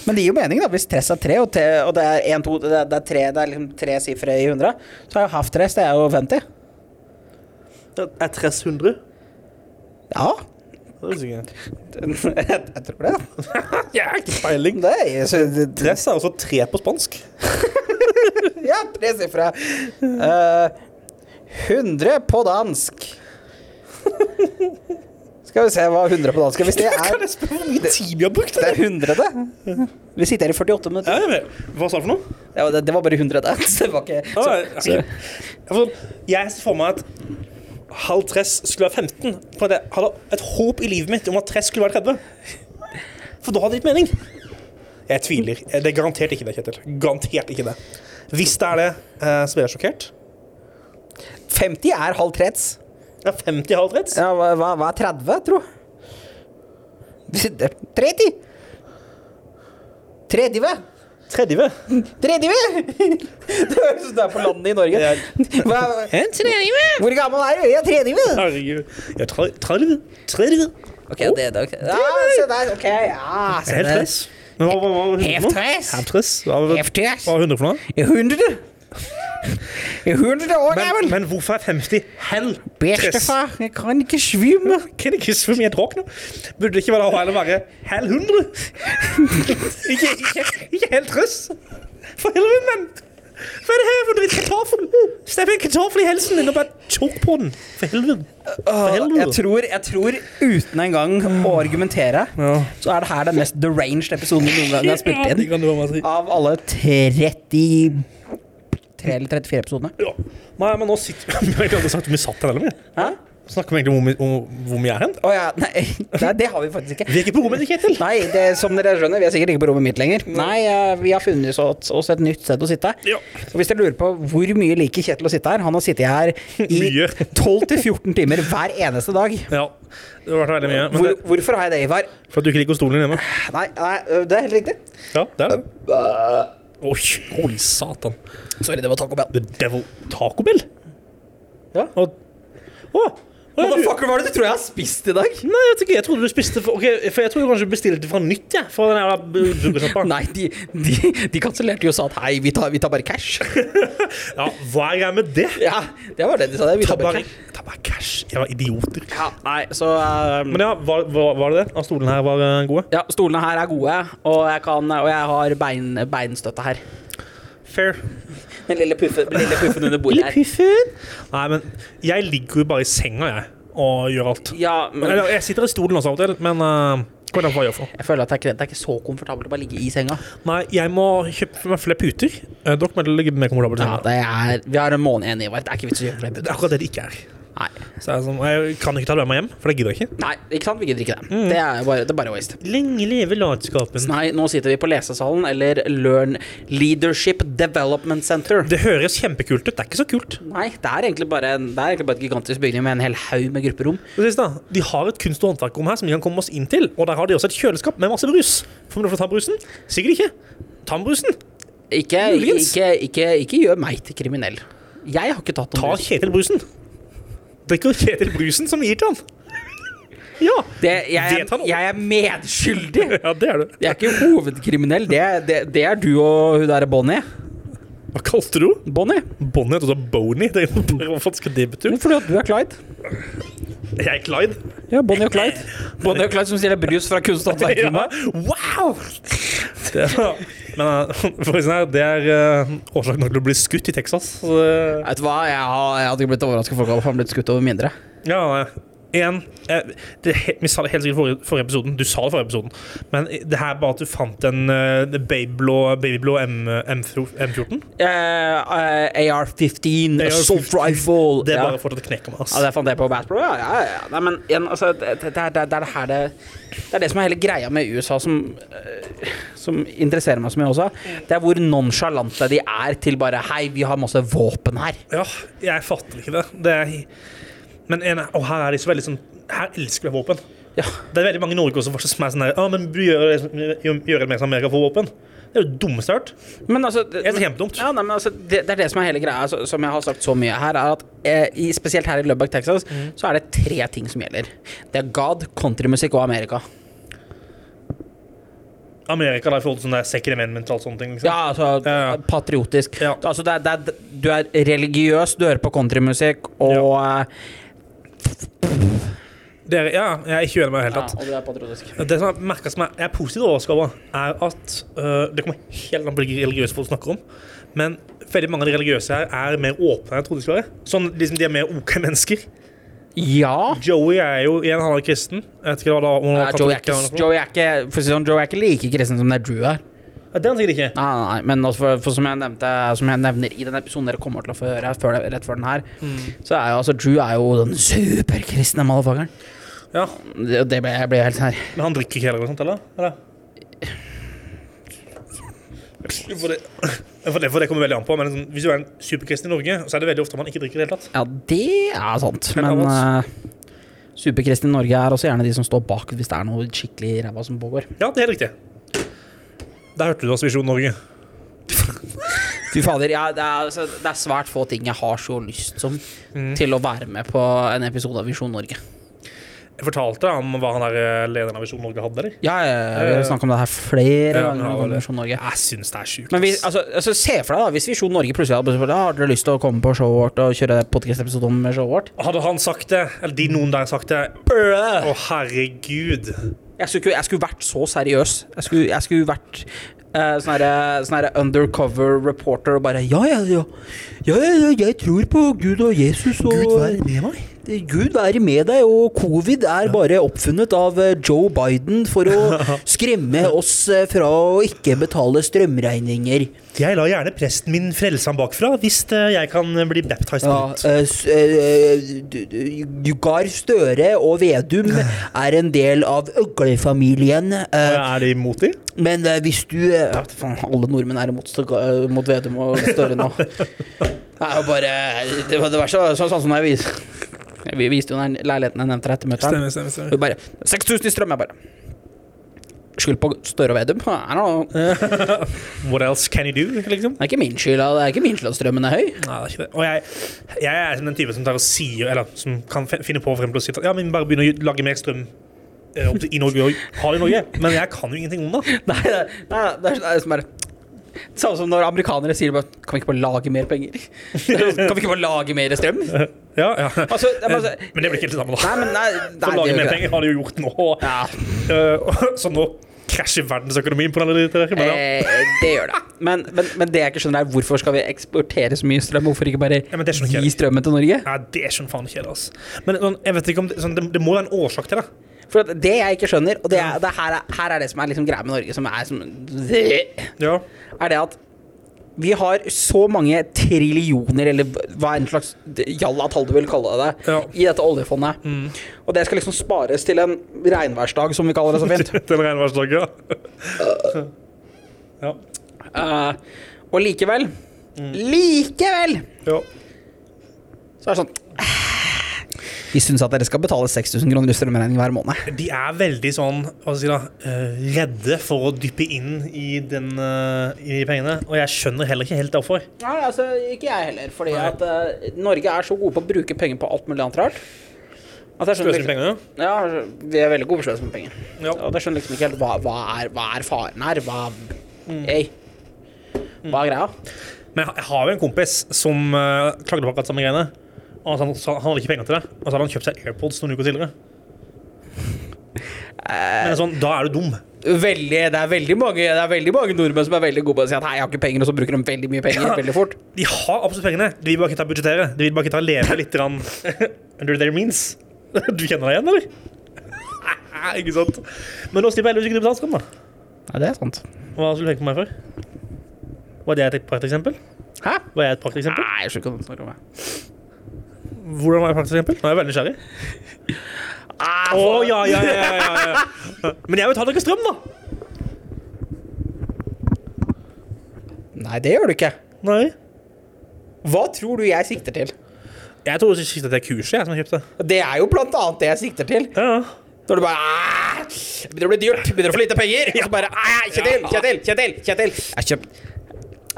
Speaker 1: Men det gir jo mening, da. Hvis tres er tre, og, te, og det er en, to, det er, det er tre, det er liksom tre sifre i 100, så er jo halv tres det er jo 50.
Speaker 2: Er tress 100?
Speaker 1: Ja.
Speaker 2: Det er sikkert.
Speaker 1: Jeg tror det.
Speaker 2: Jeg har ikke peiling.
Speaker 1: Nei, så det,
Speaker 2: Tress er altså tre på spansk.
Speaker 1: Ja, tre sifre. Eh, 100 på dansk. Skal vi se hva 100 på dansk er. Hvis det
Speaker 2: Kan
Speaker 1: er,
Speaker 2: jeg spørre hvor mye tid vi har brukt?
Speaker 1: det er 100 det. Vi sitter her i 48
Speaker 2: Ja,
Speaker 1: minutter.
Speaker 2: jeg vet. Hva sa du for noe?
Speaker 1: Det var, det var bare 100 det. Så det var ikke
Speaker 2: Ja,
Speaker 1: så,
Speaker 2: jeg- jeg- jeg får- Jeg ser for meg at halv tress skulle være 15. For at jeg hadde et håp i livet mitt om at tress skulle være 30. For da hadde det gitt mening. Jeg tviler. Det er garantert ikke det, Kjetil. Garantert ikke det. Hvis det er det, eh, så blir jeg sjokkert.
Speaker 1: 50 er halv trets.
Speaker 2: Ja, 50 halv tress.
Speaker 1: Ja, hva, hva- hva er 30, tro? Det er 30! 30?
Speaker 2: 30.
Speaker 1: 30! Det høres ut som du er på landet i Norge.
Speaker 2: Jeg-
Speaker 1: Hva, hvor gammel er du? Jeg er 30!
Speaker 2: Herregud. Jeg er 30. 30.
Speaker 1: Ok, det er det. ok. Ja, se der. Ok, ja. Se
Speaker 2: Helt
Speaker 1: der.
Speaker 2: tress. Men hva var 100 for noe?
Speaker 1: Heftress.
Speaker 2: Helt tress. Hva var
Speaker 1: Heftress.
Speaker 2: hva var 100 for noe?
Speaker 1: I hundre. I hundre år
Speaker 2: Men,
Speaker 1: gammel.
Speaker 2: men hvorfor er 50 hell tress?
Speaker 1: Bestefar, jeg kan ikke svømme.
Speaker 2: Kan ikke huske hvor mye jeg drakk nå. Burde det ikke være heller være hel 100? ikke, ikke, ikke helt russ. For helvete, mann. Hva er det her for dritt kartoffel? Stepp en kartoffel i helsen din og bare tjokk på den. For helvete. For
Speaker 1: Jeg
Speaker 2: helvete.
Speaker 1: tror, jeg tror uten engang å argumentere, så er det her den mest deranged episoden vi noen gang har
Speaker 2: Ja,
Speaker 1: spilt
Speaker 2: det
Speaker 1: inn.
Speaker 2: kan du bare si.
Speaker 1: Av alle 33 eller 34 episodene.
Speaker 2: Ja. Nei, men nå sitter vi Jeg har ikke aldri sagt om vi satt her eller noe.
Speaker 1: Hæ?
Speaker 2: Snakker vi egentlig om, hvor vi- om hvor vi er hen?
Speaker 1: Å ja, nei, nei, det har vi faktisk ikke.
Speaker 2: Vi er ikke på rommet, Kjetil.
Speaker 1: Nei, det, som dere skjønner, vi er sikkert ikke på rommet mitt lenger. Nei, eh, vi har funnet oss oss et nytt sted å sitte.
Speaker 2: Ja.
Speaker 1: Og hvis dere lurer på hvor mye liker Kjetil å sitte her, han har sittet her i
Speaker 2: Mye.
Speaker 1: 12-14 timer hver eneste dag.
Speaker 2: Ja, det har vært veldig mye. Men
Speaker 1: Hvor,
Speaker 2: det,
Speaker 1: hvorfor har jeg det, Ivar?
Speaker 2: for at du ikke liker stolen din hjemme.
Speaker 1: Nei, nei, ø, det er helt riktig.
Speaker 2: Ja, det er det. Oi, holy satan.
Speaker 1: Sorry, det var Taco Bell.
Speaker 2: The Devil Taco Bell?
Speaker 1: Ja.
Speaker 2: Og, å,
Speaker 1: Motherfucker, hva er det du tror jeg har spist i dag?
Speaker 2: Nei, jeg, vet ikke, jeg trodde du spiste for, ok, for jeg trodde kanskje du bestilte fra nytt, jeg. Fra den jævla bu- burgersjappa.
Speaker 1: Nei, de, de, de kansellerte jo og sa at hei, vi tar, vi tar bare cash.
Speaker 2: Ja, hva er greia med det?
Speaker 1: Ja, det var det de sa. Det. Vi
Speaker 2: Ta
Speaker 1: tar bare
Speaker 2: bare,
Speaker 1: cash.
Speaker 2: ta bare cash. Jeg var idioter.
Speaker 1: Ja, nei, så eh,
Speaker 2: Men ja, var, var, var det det? At stolene her var eh, gode?
Speaker 1: ja, stolene her er gode, og jeg, kan, og jeg har bein, beinstøtte her.
Speaker 2: Fair.
Speaker 1: Den lille puffen, den lille puffen under bordet her.
Speaker 2: Piffen. Nei, men jeg ligger jo bare i senga, jeg, og gjør alt.
Speaker 1: Ja, men
Speaker 2: Eller, jeg sitter i stolen også av og til, men eh, hva er det for jeg gjør for?
Speaker 1: jeg føler at det er ikke, det er ikke så komfortabelt å bare ligge i senga.
Speaker 2: Nei, jeg må kjøpe meg flere puter. Eh, Dere må ligge mer komfortabelt. i
Speaker 1: Ja,
Speaker 2: senga.
Speaker 1: det er, vi har en måned igjen, Ivar. Det er ikke vits å gjøre flere
Speaker 2: Det
Speaker 1: putter.
Speaker 2: er akkurat det det ikke er.
Speaker 1: Nei.
Speaker 2: Så jeg, er sånn, jeg kan ikke ta det med meg hjem, for det gidder jeg ikke.
Speaker 1: Nei, ikke sant? Vi gidder ikke det. Det, er bare, det er bare waste.
Speaker 2: Lenge leve latskapen.
Speaker 1: Nei, nå sitter vi på lesesalen, eller Learn Leadership Development Center.
Speaker 2: Det høres kjempekult ut. Det er ikke så kult.
Speaker 1: Nei, det er egentlig bare, en- det er egentlig bare et gigantisk bygning med en hel haug med grupperom.
Speaker 2: Precis da. De har et kunst- og håndverkrom her som vi kan komme oss inn til. Og der har de også et kjøleskap med masse brus. Får vi lov til å ta brusen? Sikkert ikke. Ta med brusen.
Speaker 1: Ikke,
Speaker 2: Muligens.
Speaker 1: ikke, ikke, ikke gjør meg til kriminell. Jeg har ikke tatt
Speaker 2: Ta
Speaker 1: noen brus.
Speaker 2: Kjetil brusen. Drikker Kjetil brusen som vi gir til han. Ja.
Speaker 1: Det, jeg,
Speaker 2: Vet han
Speaker 1: er-
Speaker 2: om-
Speaker 1: jeg er medskyldig.
Speaker 2: Ja, det er det.
Speaker 1: Jeg er ikke hovedkriminell. Det, det, det er du og hun der Bonnie.
Speaker 2: Hva kalte du henne?
Speaker 1: Bonnie?
Speaker 2: Bonnie het også Boney. Det er jo bare- Hva faen skal det bety?
Speaker 1: Fordi at du er Clyde. Mm.
Speaker 2: Jeg er Clyde.
Speaker 1: Ja, Bonnie og Clyde. Bonnie og Clyde som stjeler brus fra kunst- og
Speaker 2: Ja.
Speaker 1: håndverkerrommet.
Speaker 2: Wow! Det er, men eh, forresten her, det er eh, årsak nok til å bli skutt i Texas. Så, det-
Speaker 1: Vet du hva, jeg, har, jeg hadde ikke blitt overrasket folk hadde faen blitt skutt over mindre.
Speaker 2: Ja, igjen eh, det, he- Vi sa det helt sikkert i forrige, forrige episoden. Du sa det i forrige episoden. Men det her bare at du fant en eh, babyblå, babyblå M, M14 M14,
Speaker 1: Eh, eh, AR-15, assault rifle
Speaker 2: Det
Speaker 1: ja.
Speaker 2: bare fortsatt knekker meg. ass.
Speaker 1: ja, det fant jeg på Bad Bro, ja. ja, ja, ja. Nei, men igjen, altså, det, det, det, er- det, er- det er det her det Det er det som er hele greia med USA som, eh, som interesserer meg så mye også. Det er hvor nonsjalante de er til bare Hei, vi har masse våpen her.
Speaker 2: Ja, jeg fatter ikke det. det er, men en, og her er de så veldig sånn Her elsker vi våpen.
Speaker 1: Ja.
Speaker 2: Det er veldig mange i Norge også som er sånn her, ah, men vi gjør det, som- gjør det mer som Amerika får våpen. Det er jo det dummeste jeg har hørt.
Speaker 1: Men altså det,
Speaker 2: Jeg synes det er kjempedumt.
Speaker 1: Ja, nei, men altså, det, det er det som er hele greia, altså, som jeg har sagt så mye her, er at eh, i, spesielt her i Lubbock, Texas,
Speaker 2: Mm.
Speaker 1: så er det tre ting som gjelder. Det er God, countrymusikk og Amerika.
Speaker 2: Amerika da, i forhold til sånn der second amendment og alt sånne ting. Liksom.
Speaker 1: Ja, altså
Speaker 2: Ja, ja.
Speaker 1: patriotisk.
Speaker 2: Ja.
Speaker 1: Altså, det er, det er, du er religiøs, du hører på countrymusikk, og eh,
Speaker 2: Det er, ja, jeg er ikke uenig med det i det
Speaker 1: ja,
Speaker 2: hele tatt.
Speaker 1: og du er patriotisk.
Speaker 2: Det som jeg merker som jeg jeg er positivt overrasket over, er at øh, Det kommer helt an på hvilke religiøse folk snakker om, men veldig mange av de religiøse her er mer åpne enn jeg trodde de skulle være. Sånn, liksom, De er mer OK mennesker.
Speaker 1: Ja.
Speaker 2: Joey er jo igjen, han er kristen. Jeg vet ikke hva da, om han
Speaker 1: Nei,
Speaker 2: var
Speaker 1: Joey er,
Speaker 2: katolikk
Speaker 1: ikke,
Speaker 2: eller noe sånt.
Speaker 1: Joey, er ikke, for å si det sånn, Joey er ikke like kristen som det Drew er.
Speaker 2: Ja, Det er han sikkert ikke.
Speaker 1: Nei, nei, nei, men altså for, for som, jeg nevnte, som jeg nevner i den episoden dere kommer til å få høre før, rett før den her, så er jo altså Drew er jo den superkristne motherfuckeren.
Speaker 2: Ja,
Speaker 1: Det, det ble, jeg ble helt sånn her
Speaker 2: Men han drikker ikke heller, eller noe sånt, eller? eller? For det, for, det, for det kommer veldig an på. Men liksom, hvis du er en superkristen i Norge, så er det veldig ofte man ikke drikker i det hele tatt.
Speaker 1: Ja, det er sant,
Speaker 2: Men
Speaker 1: men
Speaker 2: Thomas?
Speaker 1: uh, superkristne i Norge er også gjerne de som står bak hvis det er noe skikkelig ræva som pågår.
Speaker 2: Ja, det er helt riktig. Der hørte du oss, Visjon Norge.
Speaker 1: Fy fader, ja, det, er, altså, det er svært få ting jeg har så lyst som til å være med på en episode av Visjon Norge.
Speaker 2: Jeg fortalte deg om hva han der eh, lederen av Visjon Norge hadde, eller?
Speaker 1: Ja, ja, vi har snakket om det her flere
Speaker 2: Ja,
Speaker 1: ganger.
Speaker 2: ja,
Speaker 1: om
Speaker 2: det.
Speaker 1: Visjon Norge
Speaker 2: Jeg syns det er sjukt.
Speaker 1: Men vi,
Speaker 2: ass.
Speaker 1: altså, altså, se for deg da, hvis Visjon Norge plutselig hadde bestemt Har dere lyst til å komme på showet vårt og kjøre podkast-episode om showet vårt?
Speaker 2: Hadde han sagt det, eller de noen der sagt det Å, herregud.
Speaker 1: Jeg skulle, ikke- jeg skulle vært så seriøs. Jeg skulle, jeg skulle vært eh, sånn herre- sånn herre undercover reporter og bare ja ja ja. ja, ja, ja, jeg tror på Gud og Jesus og
Speaker 2: med meg.
Speaker 1: Gud være med deg, og covid er bare oppfunnet av eh, Joe Biden for å skremme oss eh, fra å ikke betale strømregninger.
Speaker 2: Jeg lar gjerne presten min frelse ham bakfra hvis eh, jeg kan bli baptized på
Speaker 1: Ja,
Speaker 2: nytt.
Speaker 1: eh, s- eh, du- du- Gahr Støre og Vedum er en del av øglefamilien. eh,
Speaker 2: Er de imot de?
Speaker 1: Men eh, hvis du eh, ja, faen, Alle nordmenn er imot, Stø- eh, mot Vedum og Støre nå. Det er jo bare Det var, det var så, så, sånn som jeg vis, Vi viste jo den leiligheten jeg nevnte etter møtet. her.
Speaker 2: stemmer, stemmer.
Speaker 1: Hun bare 6000 i strøm! Jeg bare skyld på Støre og Vedum. I don't know.
Speaker 2: What else can you do? liksom?
Speaker 1: Det er ikke min skyld at- det er ikke min skyld at strømmen er høy.
Speaker 2: Nei, det er ikke det. Og jeg, jeg er som den type som tar og sier, eller som kan fe- finne på for eksempel å si at ja, men vi bare begynner å lage mer strøm eh, opp til- i Norge og ha det i Norge. Men jeg kan jo ingenting om det.
Speaker 1: Nei, det er- nei, det er, det er som bare Samme som når amerikanere sier bare Kan vi ikke bare lage mer penger? Kan vi ikke bare lage mer strøm?
Speaker 2: Ja, ja.
Speaker 1: Altså, det er bare,
Speaker 2: Eh, Men det blir ikke helt det samme, da.
Speaker 1: nei, men nei,
Speaker 2: For
Speaker 1: nei,
Speaker 2: å
Speaker 1: det
Speaker 2: lage
Speaker 1: gjør
Speaker 2: mer
Speaker 1: ikke det.
Speaker 2: penger har de jo gjort nå. og-
Speaker 1: Ja,
Speaker 2: eh, og- så nå krasjer verdensøkonomien på denne der. Men, ja.
Speaker 1: eh, det gjør det. Men, men, men det jeg ikke skjønner, er hvorfor skal vi eksportere så mye strøm? Hvorfor ikke bare
Speaker 2: Ja, men det skjønner ikke
Speaker 1: gi
Speaker 2: jeg.
Speaker 1: strømmen til Norge?
Speaker 2: Nei, det skjønner faen ikke jeg, altså. Men sånn, jeg vet ikke om det, sånn, det, det må være en årsak til det.
Speaker 1: For at det jeg ikke skjønner, og det er, det er her, er, her er det som er liksom greia med Norge, som er som Er
Speaker 2: Ja.
Speaker 1: det at vi har så mange trillioner, eller hva en slags jallatall du vil kalle det,
Speaker 2: Ja. Mm.
Speaker 1: i dette oljefondet. Og det skal liksom spares til en regnværsdag, som vi kaller det så fint.
Speaker 2: Til regnværsdager. Ja.
Speaker 1: Eh, og likevel
Speaker 2: Mm.
Speaker 1: Likevel!
Speaker 2: ja.
Speaker 1: Så er det sånn Vi syns at dere skal betale 6000 kroner i strømregning hver måned.
Speaker 2: De er veldig sånn hva skal jeg si da, eh, redde for å dyppe inn i, den, eh, i de pengene. Og jeg skjønner heller ikke helt hvorfor.
Speaker 1: Nei, altså, Ikke jeg heller. Fordi
Speaker 2: Nei.
Speaker 1: at eh, Norge er så gode på å bruke penger på alt mulig annet rart. At jeg skjønner liksom,
Speaker 2: Sløser med pengene.
Speaker 1: ja, vi er veldig gode på å sløse med penger.
Speaker 2: Ja.
Speaker 1: Og jeg skjønner liksom ikke helt hva, hva, er, hva er faren her. Hva,
Speaker 2: Mm.
Speaker 1: hey. hva er greia?
Speaker 2: Men jeg- jeg har jo en kompis som eh, klagde på akkurat samme greiene. Og han, sa han hadde ikke penger til det. Og så hadde han kjøpt seg AirPods noen uker tidligere. Men sånn, da er du dum.
Speaker 1: Veldig, det, er veldig mange, det er veldig mange nordmenn som er veldig gode på å si at hei, jeg har ikke penger, og så bruker de veldig mye penger
Speaker 2: Ja.
Speaker 1: veldig fort.
Speaker 2: De har absolutt pengene. De vil bare ikke ta budsjettere. De vil bare ikke ta leve litt grann under their means. Du kjenner deg igjen, eller? ikke sant? Men nå slipper jeg heldigvis ikke du betale skatt, da.
Speaker 1: Ja, det er sant.
Speaker 2: Hva skulle du tenke på meg for? Var det et prakteksempel?
Speaker 1: Hæ?
Speaker 2: Var jeg et prakteksempel?
Speaker 1: Nei, jeg skjønner ikke hva du snakker om. jeg.
Speaker 2: Ah. Hvordan var jeg et prakteksempel? Nå er jeg veldig nysgjerrig.
Speaker 1: Ah,
Speaker 2: Å,
Speaker 1: for-
Speaker 2: ja, ja, ja, ja, ja, ja. Men jeg betaler ikke strøm, da.
Speaker 1: Nei, det gjør du ikke.
Speaker 2: Nei.
Speaker 1: Hva tror du jeg sikter til?
Speaker 2: Jeg tror ikke det er kurset jeg som har kjøpt det.
Speaker 1: Det er jo blant annet det jeg sikter til.
Speaker 2: Ja, ja.
Speaker 1: Når du bare «Ah, Det begynner å bli dyrt, det begynner å få lite penger. Og så bare «Ah, Kjetil, Kjetil, Kjetil! Kjetil. Jeg, kjøpt,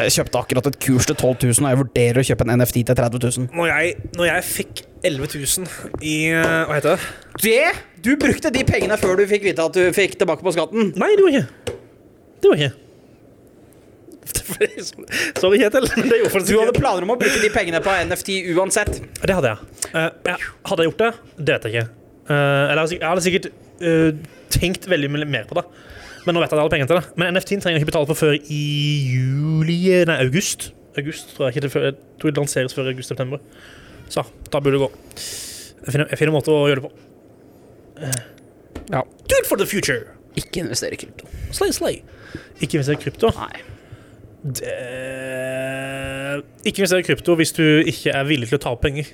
Speaker 1: jeg kjøpte akkurat et kurs til 12 000, og jeg vurderer å kjøpe en NFT til 30 000.
Speaker 2: Når jeg, når jeg fikk 11 000 i eh, Hva heter det?
Speaker 1: Det! Du brukte de pengene før du fikk vite at du fikk tilbake på skatten.
Speaker 2: Nei, det var ikke. Det var ikke. sånn. Sorry, Kjetil. Men det gjorde
Speaker 1: Du
Speaker 2: faktisk
Speaker 1: hadde
Speaker 2: ikke.
Speaker 1: planer om å bruke de pengene på NFT uansett.
Speaker 2: Det hadde jeg. Eh, jeg. Hadde jeg gjort det? Det vet jeg ikke. Eh, eller jeg hadde sik- jeg hadde sikkert eh, tenkt veldig mye mer på det. Men nå vet jeg at jeg hadde penger til det. Men NFT-en trenger jeg ikke betale for før i juli Nei, august. August tror jeg ikke det før, jeg tror det lanseres før august-september. Så da burde det gå. Jeg finner, jeg finner en måte å gjøre det på.
Speaker 1: Ja.
Speaker 2: Do it for the future!
Speaker 1: Ikke investere i krypto.
Speaker 2: Slay, slay. Ikke hvis det er krypto.
Speaker 1: Nei.
Speaker 2: Det... Ikke investere i krypto hvis du ikke er villig til å ta opp penger.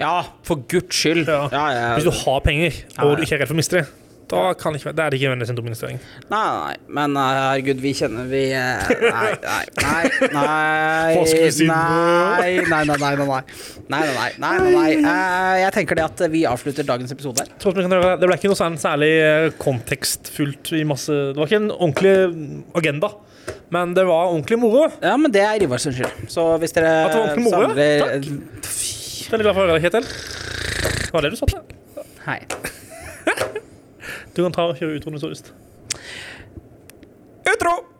Speaker 1: Ja, for guds skyld.
Speaker 2: Ja.
Speaker 1: Ja, ja.
Speaker 2: Hvis du har penger
Speaker 1: Ja.
Speaker 2: og du ikke er redd for å miste det, da kan det ikke, være- da er det ikke nødvendigvis en dum investering.
Speaker 1: Nei, nei, men eh, herregud, vi kjenner vi eh, Nei, nei, nei, nei
Speaker 2: Hva skulle vi si nå?
Speaker 1: Nei, nei, nei, nei, nei, nei, nei, nei, nei, nei, nei. Eh, Jeg tenker det at vi avslutter dagens episode her.
Speaker 2: Sånn som jeg kan gjøre, Det ble ikke noe sånn særlig eh, kontekstfullt i masse Det var ikke en ordentlig mm, agenda, men det var ordentlig moro. Jeg
Speaker 1: Ja, men det er Ivar sin skyld. Så hvis dere
Speaker 2: At det var ordentlig moro, er veldig glad for å høre deg, Kjetil. Det var det du sa.
Speaker 1: Hei.
Speaker 2: Du kan ta og kjøre utroen hvis du har lyst.
Speaker 1: Utro!